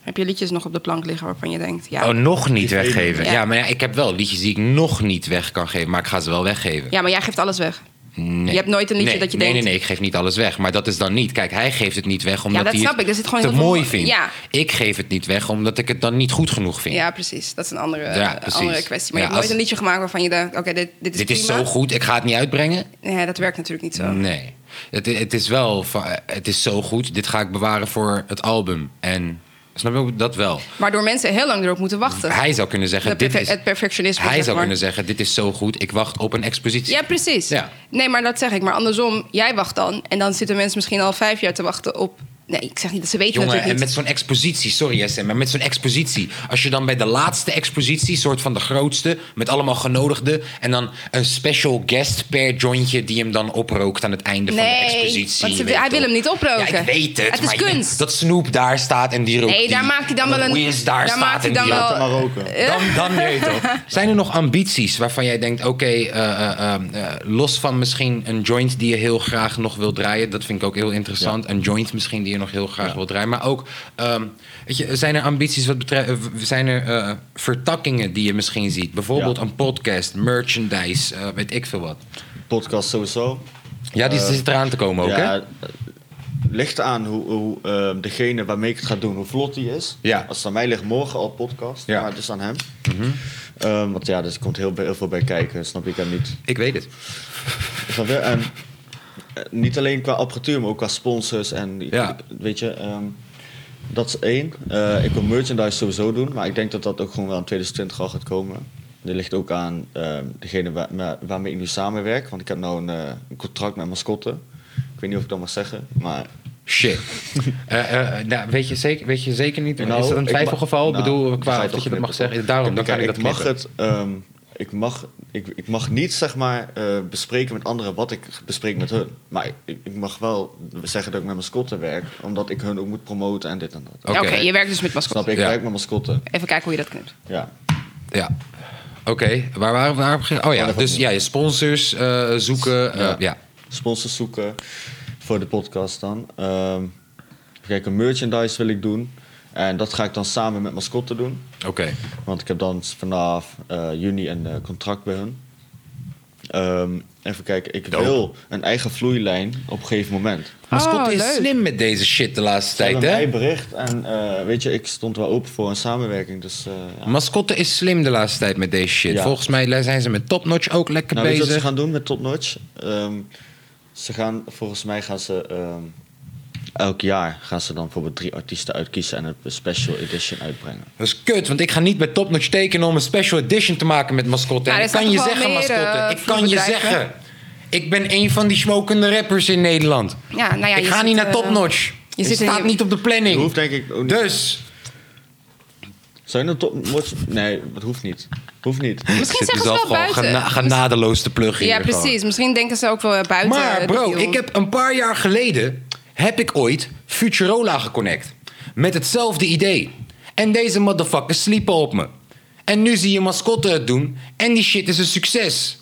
B: Heb je liedjes nog op de plank liggen waarvan je denkt, ja,
A: Oh, nog niet
C: Die
A: weggeven. Ja.
B: Ja.
A: maar ja, ik heb wel liedjes die ik nog niet weg kan geven, maar ik ga ze wel weggeven.
B: ja maar jij geeft alles weg?
A: Nee.
B: Je hebt nooit een liedje
A: Nee,
B: dat je
A: nee,
B: denkt-
A: Nee, nee, ik geef niet alles weg. Maar dat is dan niet. Kijk, hij geeft het niet weg omdat
B: dat
A: hij
B: snap
A: het
B: ik. Er zit gewoon
A: te
B: heel veel-
A: mooi vindt.
B: Ja.
A: Ik geef het niet weg omdat ik het dan niet goed genoeg vind.
B: Ja, precies. Dat is een andere,
A: Ja, precies.
B: andere kwestie. Maar
A: Ja,
B: je hebt nooit
A: als-
B: een liedje gemaakt waarvan je dacht, oké, dit, dit is
A: Dit is
B: prima.
A: zo goed, Mm. ik ga het niet uitbrengen.
B: Nee, dat werkt natuurlijk niet zo.
A: Nee. Het, het is wel van, eh, het is zo goed, dit ga ik bewaren voor het album. En snap je dat wel?
B: Waardoor mensen heel lang erop moeten wachten.
A: Hij zou kunnen zeggen:
B: Dat
A: dit
B: perfe-
A: is,
B: het perfectionisme.
A: hij
B: zeg
A: zou
B: maar.
A: kunnen zeggen: dit is zo goed, ik wacht op een expositie.
B: Ja, precies.
A: Ja.
B: Nee, maar dat zeg ik. Maar andersom, jij wacht dan. En dan zitten mensen misschien al vijf jaar te wachten op... Nee, ik zeg niet dat ze weten
A: Jongen, en
B: natuurlijk
A: met
B: niet.
A: zo'n expositie, sorry SM, maar met zo'n expositie. Als je dan bij de laatste expositie, soort van de grootste, met allemaal genodigden. en dan een special guest per jointje die hem dan oprookt aan het einde van
B: Nee,
A: de expositie.
B: want ze-
A: je weet
B: hij wil
A: toch.
B: hem niet oproken.
A: Ja, ik weet het.
B: Het is
A: maar je-
B: kunst.
A: Dat Snoop daar staat en die rookt.
B: Nee, daar
A: die,
B: maakt hij dan
A: en
B: wel
A: dat
B: een...
A: Wiz daar, staat
B: maakt hij
A: en
B: dan
A: die
B: wel...
A: rookt.
C: Laat hem maar roken.
A: Dan, dan nee toch. Zijn er nog ambities waarvan jij denkt: oké, eh, eh, eh, eh, los van misschien een joint die je heel graag nog wil draaien, dat vind ik ook heel interessant. Een joint misschien die je nog heel graag wil draaien, maar ook, ehm, weet je, zijn er ambities wat betreft, eh, w- zijn er eh, vertakkingen die je misschien ziet? Bijvoorbeeld
C: Ja.
A: een podcast, merchandise, eh, weet ik veel wat.
C: Podcast sowieso.
A: Ja, die zit eraan te komen ook,
C: Eh, ja,
A: hè?
C: eh, ligt aan hoe, hoe eh, degene waarmee ik het ga doen, hoe vlot die is.
A: Ja.
C: Als het aan mij ligt, morgen al podcast.
A: Ja. Mhm.
C: Maar het is aan hem. Ehm, want ja, dus er komt heel, heel veel bij kijken, snap je? Ik heb niet
A: Ik weet het.
C: Snap je? En eh, niet alleen qua apparatuur, maar ook qua sponsors en
A: Ja.
C: weet je. ehm, Dat is één. Eh, ik wil merchandise sowieso doen, maar ik denk dat dat ook gewoon wel in 2020 al gaat komen. Dat ligt ook aan eh, degene waar, me- waarmee ik nu samenwerk. Want ik heb nou een, eh, een contract met mascotte. Ik weet niet of ik dat mag zeggen, maar...
A: Shit. Eh, eh, nou, weet, je zeker, weet je zeker niet?
C: Nou,
A: is dat een
C: ik
A: twijfelgeval?
C: mag-
A: ik bedoel,
C: nou,
A: qua
C: ga
A: of dat je dat
C: toch
A: mag
C: knippen,
A: zeggen.
C: toch?
A: Daarom, dan
C: Kijk,
A: kan ik dat
C: mag
A: knippen.
C: het, ehm, ik, mag, ik, ik mag niet zeg maar, eh, bespreken met anderen wat ik bespreek met hun. Maar ik, ik mag wel zeggen dat ik met mascotten werk, omdat ik hun ook moet promoten en dit en dat.
A: Oké.
B: Oké, je werkt dus met mascotte.
C: Snap je? ik?
A: Ja.
C: werk met mascotten.
B: Even kijken hoe je dat knipt.
C: Ja.
A: Ja. Oké, waar waren we? Waar begin- Oh ja, dus ja, je sponsors eh, zoeken. eh, ja.
C: Ja. Sponsors zoeken voor de podcast dan. Ehm kijk, een merchandise wil ik doen. En dat ga ik dan samen met mascotten doen.
A: Oké.
C: Want ik heb dan vanaf eh, juni een eh, contract bij hun. Ehm, even kijken, ik
A: Dope.
C: wil een eigen vloeilijn op een gegeven moment.
A: Mascotte
B: Oh,
A: is
B: leuk.
A: slim met deze shit de laatste
C: Ze
A: tijd,
C: hebben mij
A: hè?
C: bericht en eh, weet je, ik stond wel open voor een samenwerking. Dus, eh, ja.
A: Mascotte is slim de laatste tijd met deze shit.
C: Ja.
A: Volgens mij zijn ze met Topnotch ook lekker
C: nou, weet je wat
A: bezig.
C: ze gaan doen met Top Notch? Ehm, ze gaan, volgens mij gaan ze ehm, elk jaar gaan ze dan bijvoorbeeld drie artiesten uitkiezen en een special edition uitbrengen.
A: Dat is kut, want ik ga niet bij Topnotch tekenen om een special edition te maken met mascotte.
B: Ja,
A: En
B: er
A: ik kan
B: zijn
A: je
B: toch wel
A: zeggen,
B: meer, eh,
A: mascotte. Ik kan je
B: vloerbedrijven.
A: zeggen. Ik ben een van die smokende rappers in Nederland.
B: Ja, nou ja,
A: ik
B: je
A: ga
B: zit,
A: niet naar
B: eh,
A: Topnotch.
B: je
A: Je
B: zit in
A: staat
B: je-
A: niet op de
C: Dat
A: planning.
C: hoeft denk ik ook niet.
A: Dus,
C: Zijn er Top Notch? Nee, dat hoeft niet. Hoeft niet.
B: Misschien
A: zit
B: zeggen ze
A: zelf
B: wel
A: gewoon
B: buiten.
A: gena- genadeloos te pluggen.
B: Ja,
A: hier gewoon.
B: precies. Misschien denken ze ook wel buiten.
A: Maar
B: eh,
A: bro,
B: de deal.
A: ik heb een paar jaar geleden heb ik ooit Futurola geconnect met hetzelfde idee. En deze motherfuckers sliepen op me. En nu zie je mascotte het doen en die shit is een succes.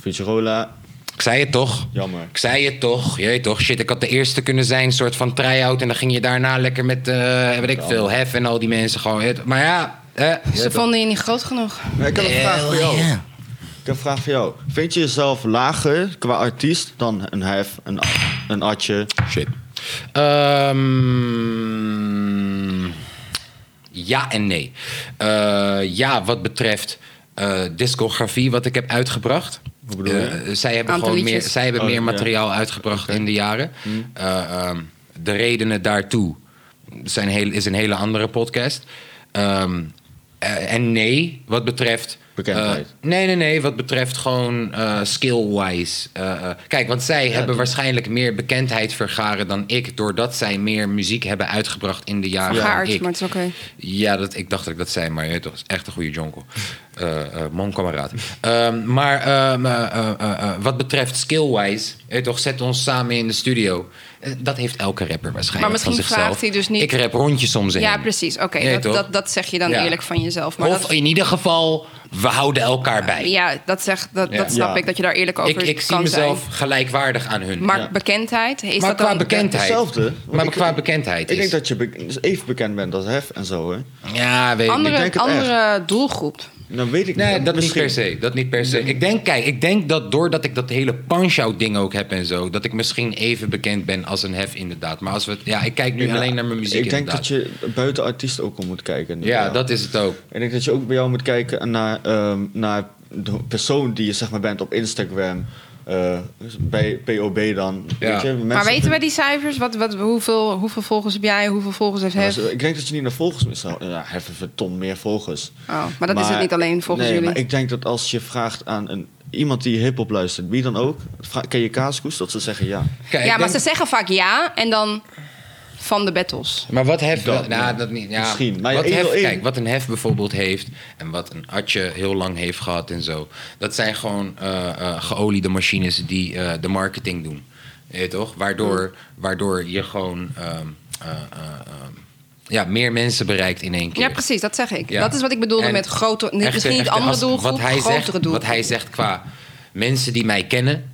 C: Futurola,
A: Ik zei het toch?
C: Jammer.
A: Ik zei het toch? Je weet toch? Shit, ik had de eerste kunnen zijn, soort van try-out. En dan ging je daarna lekker met, eh weet ik veel, Hef en al die mensen gewoon. je weet- Maar ja, eh,
B: Ze vonden je niet groot genoeg.
C: Maar ik heb een vraag voor jou.
A: yeah.
C: Ik heb een vraag voor jou. Vind je jezelf lager qua artiest dan een hef, een, een atje?
A: Shit. Ehm, ja en nee. Eh, ja, wat betreft eh, discografie wat ik heb uitgebracht.
C: Hoe bedoel je?
A: Eh, zij hebben
B: Aantal
A: gewoon meer,
B: liedjes.
A: zij hebben
C: Oh,
A: meer
C: ja. Hm.
A: materiaal uitgebracht in de jaren. Eh, ehm, de redenen daartoe zijn heel, is een hele andere podcast. Ehm, eh, en nee, wat betreft...
C: Bekendheid.
A: eh, Nee, nee, nee. Wat betreft gewoon eh, skill-wise. Eh, eh, kijk, want zij hebben waarschijnlijk meer bekendheid vergaren dan ik. Doordat zij meer muziek hebben uitgebracht in de jaren. dan
B: Geaard,
A: ik.
B: maar het is oké.
A: Ja, dat, ik dacht dat ik dat zei, maar je weet toch, is echt een goede jonkel. Eh eh mon kameraad. Ehm, maar ehm, eh, eh, eh, eh, wat betreft skill-wise, je weet toch, zet ons samen in de studio. Eh, dat heeft elke rapper waarschijnlijk.
B: Maar misschien
A: van zichzelf.
B: vraagt hij dus niet-
A: Ik rap rondjes om ze
B: Ja,
A: heen.
B: precies. Oké,
A: Je weet
B: dat,
A: toch?
B: dat, dat zeg je dan
A: Ja.
B: eerlijk van jezelf. Maar
A: of
B: dat,
A: in ieder geval, we houden elkaar bij.
B: ja, dat, zeg, dat,
A: Ja.
B: dat snap
C: Ja.
B: ik, dat je daar eerlijk over
A: ik ik zie
B: kan
A: mezelf
B: zijn.
A: gelijkwaardig aan hun.
B: Maar
C: Ja.
B: bekendheid, is
A: maar
B: dat
A: qua
B: dan...
A: bekendheid.
C: Hetzelfde, want
A: Maar
C: ik-
A: qua bekendheid
C: Ik
A: is.
C: denk dat je be- even bekend bent als hef en zo, hè?
A: Ja, weet ik niet.
B: Andere,
C: denk het
B: andere doelgroep.
C: Dan weet ik
A: Nee,
C: niet.
A: dat
C: Misschien-
A: niet per se. Dat niet per se. Ik denk, kijk, ik denk dat doordat ik dat hele punch-out ding ook heb en zo, dat ik misschien even bekend ben als een hef inderdaad. Maar als we, ja, ik kijk nu
C: Ja,
A: alleen naar mijn muziek
C: Ik denk
A: inderdaad.
C: dat je buiten artiest ook om moet kijken.
A: ja, dat is het ook.
C: Ik denk dat je ook bij jou moet kijken naar, ehm, naar de persoon die je zeg maar bent op Instagram. eh, bij POB dan.
A: Ja.
C: Weet je, mensen
B: maar weten we
C: vinden-
B: die cijfers? Wat, wat, hoeveel, hoeveel volgers heb jij? Hoeveel volgers heeft
C: Maar
B: hij?
C: ze- Ik denk dat je niet naar volgers moet snel- Ja, hef heeft een ton meer volgers.
B: Oh, maar dat is het niet alleen volgens
C: nee,
B: jullie.
C: Maar ik denk dat als je vraagt aan een, iemand die hip-hop luistert, wie dan ook, vra- ken je Kaaskoes? Dat ze zeggen ja.
A: Kijk, ik
B: ja, maar
A: denk-
B: ze zeggen vaak ja en dan van de battles.
A: Maar wat hef...
C: Dat,
A: nou,
C: ja.
A: dat niet. Ja,
C: Misschien, maar
A: wat
C: één
A: hef,
C: wil één.
A: kijk, wat een hef bijvoorbeeld heeft... en wat een atje heel lang heeft gehad en zo... dat zijn gewoon eh, eh, geoliede machines die eh, de marketing doen. Weet je toch? Waardoor, waardoor je gewoon... ehm, eh, eh, ehm, ja, meer mensen bereikt in één keer.
B: Ja, precies, dat zeg ik.
A: Ja.
B: Dat is wat ik bedoelde
A: En
B: met grote, niet-
A: echte-
B: misschien niet
A: echte-
B: andere
A: als-
B: doelgroep,
A: wat hij
B: grotere
A: zegt,
B: doelgroep.
A: Wat hij zegt qua mensen die mij kennen...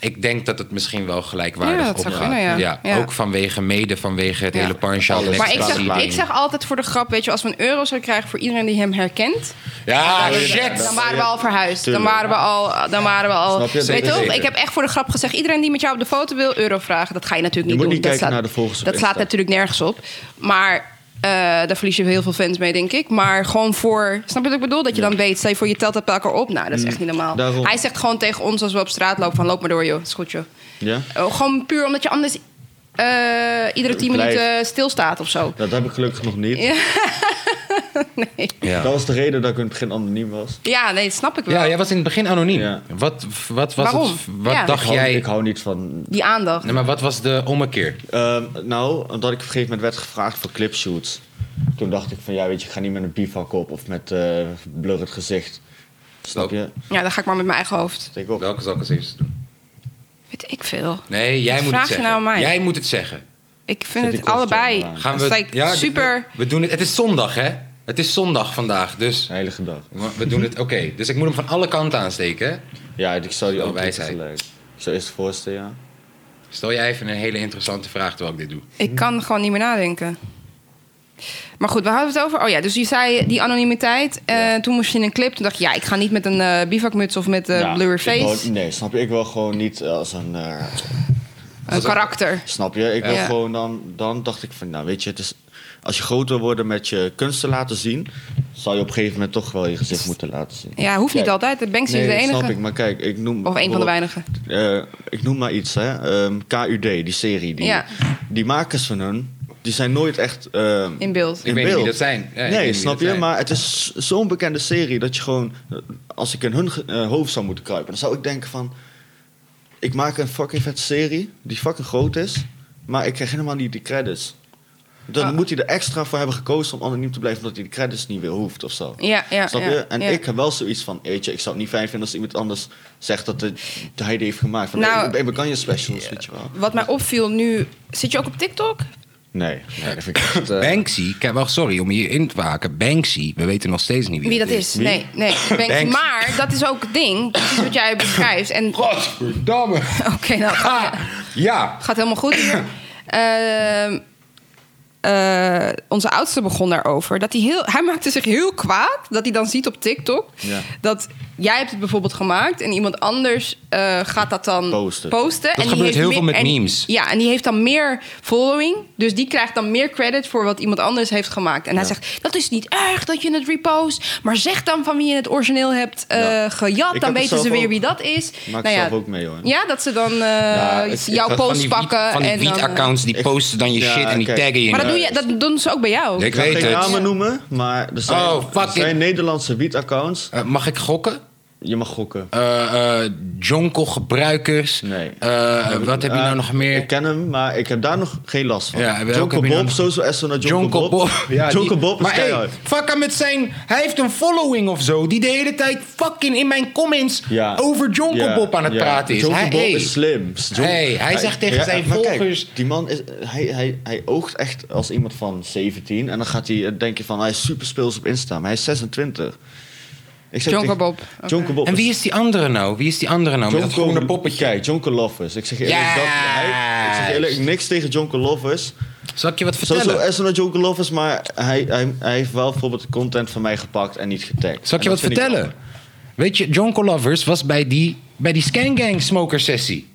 A: Ik denk dat het misschien wel gelijkwaardig
B: Ja,
A: op
B: dat zou
A: opgaat.
B: kunnen, ja. Ja.
A: Ook vanwege mede, vanwege het
B: Ja.
A: hele punch-out.
C: Alles.
B: maar ik zeg,
A: expliciet
B: ik zeg altijd voor de grap, weet je, als we een euro zouden krijgen voor iedereen die hem herkent,
A: Ja,
B: dan,
A: shit.
B: dan waren we al verhuisd. Dan
C: Tuurlijk.
B: waren we al, eh, dan waren we al.
C: Snap je?
B: Weet je
A: Zeker,
B: toch?
A: zeker.
B: Ik heb echt voor de grap gezegd, iedereen die met jou op de foto wil euro vragen, dat ga je natuurlijk
C: Je
B: niet
C: moet
B: doen.
C: niet
B: dat
C: kijken naar de volgers op
B: Dat slaat
C: Insta.
B: natuurlijk nergens op. Maar eh, daar verlies je heel veel fans mee, denk ik. Maar gewoon voor, snap je wat ik bedoel? Dat je dan weet, stel je voor je telt dat bij elkaar op. Nou, dat is echt niet normaal.
C: Mm. daarom.
B: Hij zegt gewoon tegen ons als we op straat lopen van loop maar door joh, is goed joh.
C: Ja?
B: Oh, gewoon puur omdat je anders eh, iedere tien
C: Blijft.
B: minuten stilstaat of zo.
C: Dat heb ik gelukkig nog niet.
B: Nee.
A: Ja.
C: Dat was de reden dat ik in het begin anoniem was.
B: Ja, nee, dat snap ik wel.
A: Ja, jij was in het begin anoniem.
C: Ja.
A: Wat, wat was
B: Waarom?
A: het? Wat
B: Ja.
C: Ik
A: dacht
C: hou,
A: jij?
C: ik hou niet van...
B: Die aandacht.
A: Nee, maar wat was de ommekeer?
C: Ehm, nou, omdat ik op een gegeven moment werd gevraagd voor clipshoots. Toen dacht ik van, ja weet je, ik ga niet met een bivak op of met eh blurred gezicht. Snap je?
B: Ja, dan ga ik maar met mijn eigen hoofd.
C: Ik ook.
A: Welke zal ik als eerste doen?
B: Weet ik veel.
A: Nee, jij
B: Wat
A: moet
B: vraag
A: het
B: je
A: zeggen.
B: nou aan mij?
A: Jij moet het zeggen.
B: Ik vind
C: Zit
B: het
C: die
B: allebei
C: kostuum aan?
A: Gaan we,
B: dat is like
A: ja,
B: super.
A: We, we doen het, het is zondag, hè? Het is zondag vandaag, dus
C: Heilige dag.
A: we doen het. Oké, dus ik moet hem van alle kanten aansteken. hè?
C: Ja, ik zou die
A: Wel
C: ook niet
A: wijsheid.
C: tegelijk. Ik zou eerst de voorste, ja.
A: Stel jij even een hele interessante vraag terwijl ik dit doe.
B: Ik kan gewoon niet meer nadenken. Maar goed, waar hadden we het over? Oh ja, dus je zei die anonimiteit. Eh, Toen moest je in een clip. Toen dacht je, ja, ik ga niet met een eh, bivakmuts of met een
C: Ja,
B: blurry
C: ik wou-
B: face.
C: nee, snap je? Ik wil gewoon niet als een... eh,
B: Een karakter.
C: Snap je? Ik wil
B: Ja.
C: gewoon dan, dan dacht ik van, nou weet je, het is, als je groot wil worden met je kunst te laten zien, zal je op een gegeven moment toch wel je gezicht moeten laten zien.
B: Ja, hoeft niet
C: Kijk,
B: altijd. De Banksy
C: Nee,
B: is de
C: dat
B: enige.
C: snap ik, maar kijk, ik noem.
B: Of een van de weinigen.
C: Eh, ik noem maar iets, hè? Ehm, KUD, die serie. Die,
B: Ja.
C: die makers van hun, die zijn nooit echt. ehm,
B: In beeld.
A: Ik weet niet wie dat zijn. Ja, ik weet niet
C: nee,
A: wie
C: snap
A: dat
C: je?
A: zijn.
C: Maar het is zo'n bekende serie dat je gewoon, eh, als ik in hun ge- eh, hoofd zou moeten kruipen, dan zou ik denken van, ik maak een fucking vette serie die fucking groot is, maar ik krijg helemaal niet die credits. Dan
B: Ah.
C: moet hij er extra voor hebben gekozen om anoniem te blijven, omdat hij de credits niet weer hoeft of zo.
B: Ja, ja,
C: Snap
B: ja,
C: je? En
B: ja.
C: ik heb wel zoiets van, weet je, ik zou het niet fijn vinden als iemand anders zegt dat het, hij die heeft gemaakt. Van,
B: Nou,
C: nou, ik kan je specials, weet je wel.
B: Wat mij opviel nu... Zit je ook op TikTok?
C: Nee, nee, dat vind ik echt... eh,
A: Banksy, kijk, wacht, sorry om hier in te waken. Banksy, we weten nog steeds niet wie,
B: Wie dat is? Nee, nee. Banksy.
A: Banksy.
B: Maar dat is ook het ding. Precies wat jij beschrijft. En oké,
A: Godverdamme.
B: nou...
A: Ha! Ja.
B: Gaat helemaal goed hier. Ehm, eh, onze oudste begon daarover. Dat hij, heel, hij maakte zich heel kwaad dat hij dan ziet op TikTok...
C: Ja.
B: dat jij hebt het bijvoorbeeld gemaakt... en iemand anders eh, gaat dat dan
C: Posten.
B: posten. en die
A: gebeurt
B: heeft
A: heel
B: meer-
A: veel met
B: en-
A: memes.
B: Ja, en die heeft dan meer following. Dus die krijgt dan meer credit voor wat iemand anders heeft gemaakt. En hij zegt, dat is niet erg dat je het repost... maar zeg dan van wie je het origineel hebt eh,
C: Ja.
B: gejat. dan
C: Ik heb het
B: weten
C: zelf
B: ze weer
C: ook.
B: wie dat is. Nou
C: Maak
B: ja,
C: zelf ook mee, hoor.
B: Ja, dat ze dan eh,
C: ik- ik
A: Van
B: jouw
A: die
B: post
A: wiet-
B: pakken.
A: Van die
B: en dan, eh,
A: accounts die
C: Ik-
A: posten dan je
C: Ja,
A: shit en die
C: kijk.
A: taggen je.
B: Maar dat,
A: in.
B: doe je, dat doen ze ook bij jou.
A: Ik
C: Ik
A: weet
C: ga geen
A: het.
C: namen noemen, maar er zijn,
A: Oh, fuck
C: er zijn
A: it.
C: Nederlandse wiet-accounts.
A: Eh, mag ik gokken?
C: Je mag gokken.
A: eh eh, Jonkel-gebruikers.
C: Nee.
A: Eh, wat heb je nou
C: Eh,
A: nog meer?
C: Ik ken hem, maar ik heb daar nog geen last van.
A: Ja, welke
C: Jonko
A: heb je nou
C: Bob,
A: nog?
C: sowieso echt zo naar Jonko
A: Jonko
C: Bob.
A: Bob.
C: Ja, Jonko
A: die-
C: Bob is
A: maar hey,
C: keihard.
A: fuck hem met zijn... Hij heeft een following of zo... die de hele tijd fucking in mijn comments...
C: Ja.
A: over Jonko
C: Ja,
A: Bob aan het
C: ja.
A: praten is.
C: Jonko
A: hij,
C: Bob
A: hey.
C: is slim. Jon-
A: Hey, hij zegt tegen zijn
C: maar kijk,
A: volgers-
C: die man is, hij, hij, hij oogt echt als iemand van 17. En dan gaat hij eh, denken van hij is super speels op Insta. Maar hij is 26. Ik zeg
B: Jonko
C: tegen-
B: Bob.
C: Jonko Bob
A: En wie is die andere nou? Wie is die andere nou? Met dat
C: Jonko-
A: groene poppetje.
C: Kijk, Jonko Lovers. Ik zeg je eerlijk, dat, hij, ik zeg je eerlijk niks tegen Jonko Lovers.
A: Zal ik je wat
C: Sowieso
A: vertellen?
C: SNL Joker Lovers, maar hij, hij, hij heeft wel bijvoorbeeld de content van mij gepakt en niet getagd.
A: Zal ik je wat
C: En dat vind
A: vertellen?
C: jammer.
A: Weet je, John Colovers was bij die, bij die Scangang smoker sessie.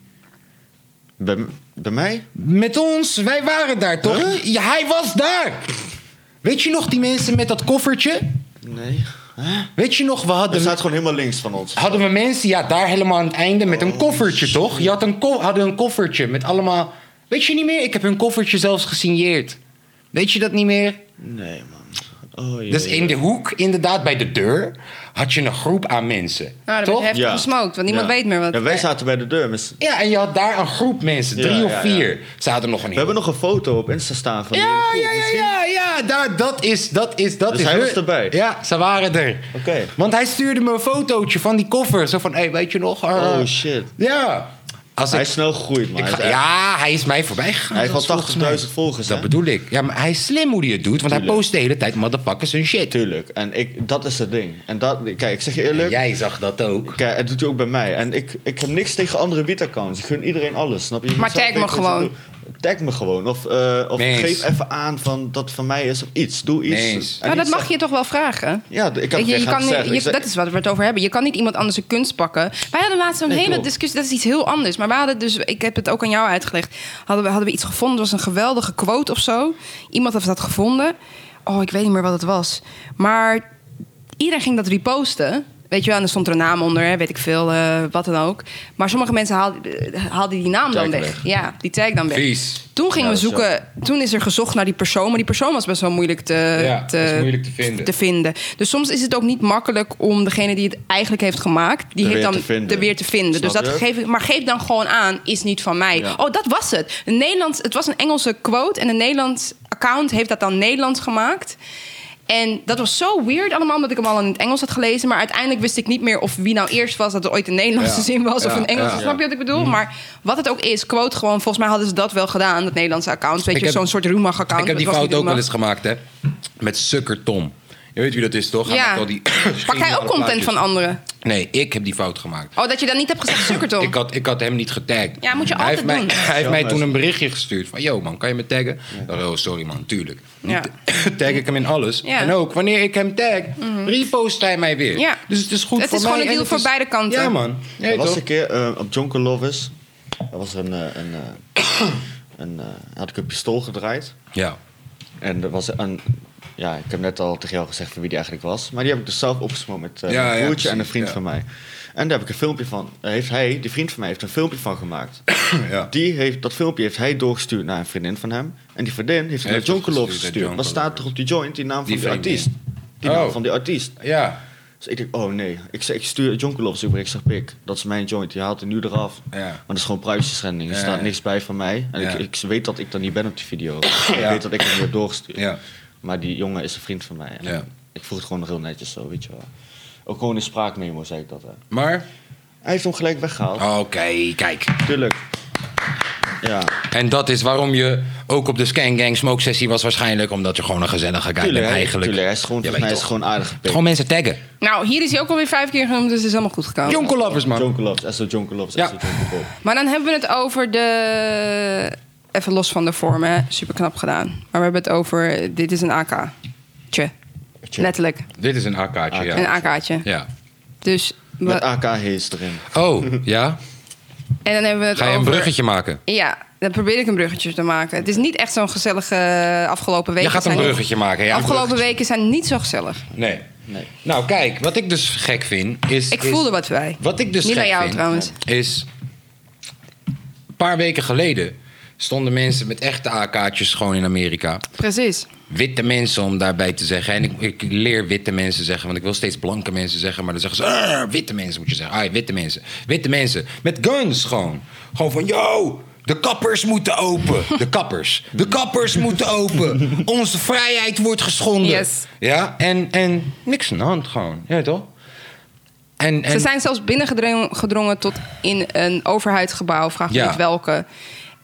C: Bij, bij mij?
A: Met ons, wij waren daar toch? Ja, hij was daar! Weet je nog die mensen met dat koffertje?
C: Nee.
A: Weet je nog, we
C: Hij
A: hadden...
C: staat gewoon helemaal links van ons.
A: hadden we mensen, ja, daar helemaal aan het einde met
C: Oh,
A: een koffertje, toch? Je had een ko- hadden een koffertje met allemaal. Weet je niet meer? Ik heb hun koffertje zelfs gesigneerd. Weet je dat niet meer?
C: Nee, man. Oh, jee.
A: Dus in de hoek, inderdaad, bij de deur, had je een groep aan mensen.
B: Nou, dat
A: toch?
B: werd heftig gesmokt, want niemand
C: Ja.
B: weet meer wat.
C: Ja, wij zaten bij de deur. maar ze-
A: Ja, en je had daar een groep mensen, drie
C: Ja,
A: of
C: ja,
A: vier. Ze hadden nog een
C: We hebben nog een foto op Insta staan van die
A: Ja,
C: groep,
A: ja, ja,
C: misschien.
A: ja, ja. Daar, dat is, dat is, dat
C: Dus
A: is.
C: hij
A: hun.
C: was erbij?
A: Ja, ze waren er.
C: Oké.
A: Want hij stuurde me een fotootje van die koffer. Zo van, hé, hey, weet je nog? eh,
C: Oh, shit.
A: Ja. Als
C: Hij
A: ik-
C: is snel gegroeid, man.
A: Ik
C: Hij
A: ga-
C: is echt-
A: ja, hij is mij voorbij gegaan.
C: Hij heeft
A: Dat
C: al
A: is volgens
C: 80.000
A: mij-
C: volgers,
A: Dat
C: hè?
A: bedoel ik. Ja, maar hij is slim hoe hij het doet, want hij
C: Tuurlijk.
A: post de hele tijd motherfuckers hun shit.
C: Tuurlijk. En ik, dat is het ding. En dat, kijk, ik zeg je
A: En
C: eerlijk.
A: jij zag dat ook.
C: Kijk, het doet hij ook bij mij. En ik, ik heb niks tegen andere wiet-accounts. Ik gun iedereen alles, snap je? Je
B: Maar
C: moet zelf
B: tag me
C: weten wat je
B: gewoon.
C: doet. Tag me gewoon. Of, eh, of
A: Meens.
C: geef even aan van, dat het van mij is of iets. Doe iets.
A: Meens.
C: En
B: Maar dat
C: iets
B: mag je toch wel vragen?
C: zeggen. Ja, d- ik heb
B: Weet
C: het
B: je, je
C: tegen hem
B: kan,
C: gezegd.
B: je,
C: Ik zei-
B: dat is wat we het over hebben. Je kan niet iemand anders een kunst pakken. Wij hadden laatst een
C: Nee,
B: hele
C: klopt.
B: discussie. Dat is iets heel anders. Maar we hadden dus, ik heb het ook aan jou uitgelegd. Hadden we, hadden we iets gevonden? Het was een geweldige quote of zo. Iemand had dat gevonden. Oh, ik weet niet meer wat het was. Maar iedereen ging dat reposten. Weet je wel, en dan stond er een naam onder, hè, weet ik veel, eh, wat dan ook. Maar sommige mensen haalden, eh, haalden die naam dan weg.
C: Tag weg.
B: Ja, die tag dan weg.
A: Vies.
B: Toen gingen
C: Ja,
B: we
C: dat is
B: zoeken, toen is er gezocht naar die persoon, maar die persoon was best wel moeilijk te,
A: Ja,
B: eh, te,
A: dat is moeilijk te vinden.
B: te vinden. Dus soms is het ook niet makkelijk om degene die het eigenlijk heeft gemaakt, die
C: Er
B: heeft
C: weer
B: dan
C: te vinden.
B: er weer te vinden.
C: Snap
B: dus dat
C: je?
B: geef ik, maar geef dan gewoon aan, is niet van mij.
C: Ja.
B: Oh, dat was het. Een Nederlands, het was een Engelse quote en een Nederlands account heeft dat dan Nederlands gemaakt. En dat was zo weird allemaal, omdat ik hem al in het Engels had gelezen. Maar uiteindelijk wist ik niet meer of wie nou eerst was. Dat er ooit een Nederlandse
A: Ja.
B: zin was of
A: Ja,
B: een Engelse.
A: ja.
B: Snap je wat ik bedoel?
C: Mm.
B: Maar wat het ook is, quote gewoon. Volgens mij hadden ze dat wel gedaan, dat Nederlandse account. Weet
A: Ik
B: je,
A: heb-
B: zo'n soort Roemag-account.
A: Ik heb die
B: dat was
A: fout
B: niet
A: ook wel
B: Roemag.
A: eens gemaakt, hè? Met Sukker Tom. Je weet wie dat is, toch? Hij
B: Ja.
A: maakt al die
B: Pak jij ook content van anderen?
A: Nee, ik heb die fout gemaakt.
B: Oh, dat je dan niet hebt gezegd, sukkertom.
A: Ik had, ik had hem niet getagd.
B: Oh. Ja, moet je
A: hij
B: altijd
A: heeft
B: doen.
A: Mij, hij heeft
C: Ja,
A: mij
C: maar-
A: toen een berichtje gestuurd van... Yo man, kan je me taggen? Ik dacht, oh, sorry man, tuurlijk.
B: Ja.
A: Tag ik hem in alles.
B: Ja. Mhm.
A: En ook, wanneer ik hem tag, repost hij mij weer.
B: Ja.
A: Dus het is goed
B: Het
A: voor
B: is
A: mij
B: gewoon een
A: en
B: deal
A: het
B: voor
A: is-
B: beide kanten.
A: Ja man. Ja,
C: Er was
A: toch?
C: een keer eh, op John Clovis. Er was een. eh, een, eh, een eh, had ik een pistool gedraaid.
A: ja.
C: En er was een. Ja, ik heb net al tegen jou gezegd van wie die eigenlijk was. Maar die heb ik dus zelf opgesmoord met eh
A: Ja,
C: mijn
A: ja,
C: broertje en een
A: precies,
C: vriend
A: ja.
C: van mij. En daar heb ik een filmpje van. eh, Heeft hij, die vriend van mij, heeft een filmpje van gemaakt.
A: ja.
C: Die heeft, dat filmpje heeft hij doorgestuurd naar een vriendin van hem. En die vriendin heeft het naar
A: Heeft
C: John
A: het gestuurd
C: Clovis
A: naar
C: gestuurd.
A: John
C: Wat staat er op die joint? Die naam van
A: Die
C: die,
A: vriendin.
C: artiest. Die naam
A: Oh.
C: van die artiest.
A: Ja.
C: Dus ik denk, oh nee. Ik, zeg- ik stuur John Clovis over. Ik zeg, pik, dat is mijn joint. Je haalt het nu eraf.
A: Ja.
C: Maar dat is gewoon privacyschending. Er
A: Ja,
C: staat
A: ja.
C: niks bij van mij. En
A: Ja.
C: ik, ik weet dat ik er niet ben op die video. Ik weet dat ik hem heb doorgestuurd.
A: Ja.
C: Maar die jongen is een vriend van mij. En
A: Ja.
C: Ik vroeg het gewoon nog heel netjes zo, weet je wel. Ook gewoon in spraakmemo zei ik dat. Hè.
A: Maar?
C: Hij heeft hem gelijk weggehaald.
A: Oké, kijk.
C: Tuurlijk. Ja.
A: En dat is waarom je ook op de Scan Gang Smoke Sessie was waarschijnlijk. Omdat je gewoon een gezellige guy bent
C: Tuurlijk, hè.
A: eigenlijk.
C: Tuurlijk, hij is gewoon,
A: Je
C: volgens mij
A: weet
C: is
A: toch.
C: gewoon aardig gepikt.
A: Gewoon mensen taggen.
B: Nou, hier is hij ook alweer vijf keer genoemd, dus het is helemaal goed gekomen.
A: Jonkel lovers man.
C: John Clovis, Esther John Clovis,
A: Ja.
C: Esther John Clovis.
B: Maar dan hebben we het over de... Even los van de vorm, hè. Super knap gedaan. Maar we hebben het over... Dit is een AK. Tje.
C: Tje.
B: Letterlijk.
A: Dit is een AK'tje, ja.
B: Een AK'tje.
A: Ja.
B: Dus... we-
C: Met AK Hees erin.
A: Oh, ja?
B: en dan hebben we het
A: Ga je een
B: over-
A: bruggetje maken?
B: Ja, dan probeer ik een bruggetje te maken. Het is niet echt zo'n gezellige eh, afgelopen weken.
A: Je gaat een
B: zijn-
A: bruggetje maken, ja. een
B: afgelopen
A: bruggetje.
B: weken zijn niet zo gezellig.
A: Nee.
C: Nee.
A: Nou, kijk, wat ik dus gek vind is...
B: Ik
A: is-
B: voelde wat wij.
A: Wat ik dus
B: Niet
A: gek
B: bij jou
A: vind,
B: trouwens.
A: is... Een paar weken geleden stonden mensen met echte AK'tjes gewoon in Amerika.
B: Precies.
A: witte mensen om daarbij te zeggen. En ik, ik leer witte mensen zeggen, want ik wil steeds blanke mensen zeggen. Maar dan zeggen ze, "Arr, witte mensen moet je zeggen. Ah, witte mensen. Witte mensen. Met guns gewoon. Gewoon van, yo, de kappers moeten open. De kappers. De kappers moeten open. Onze vrijheid wordt geschonden.
B: Yes.
A: Ja, en, en niks aan de hand gewoon. Ja, toch? En, en,
B: Ze zijn zelfs binnengedrongen gedrongen tot in een overheidsgebouw. Vraag me
A: Ja.
B: niet welke.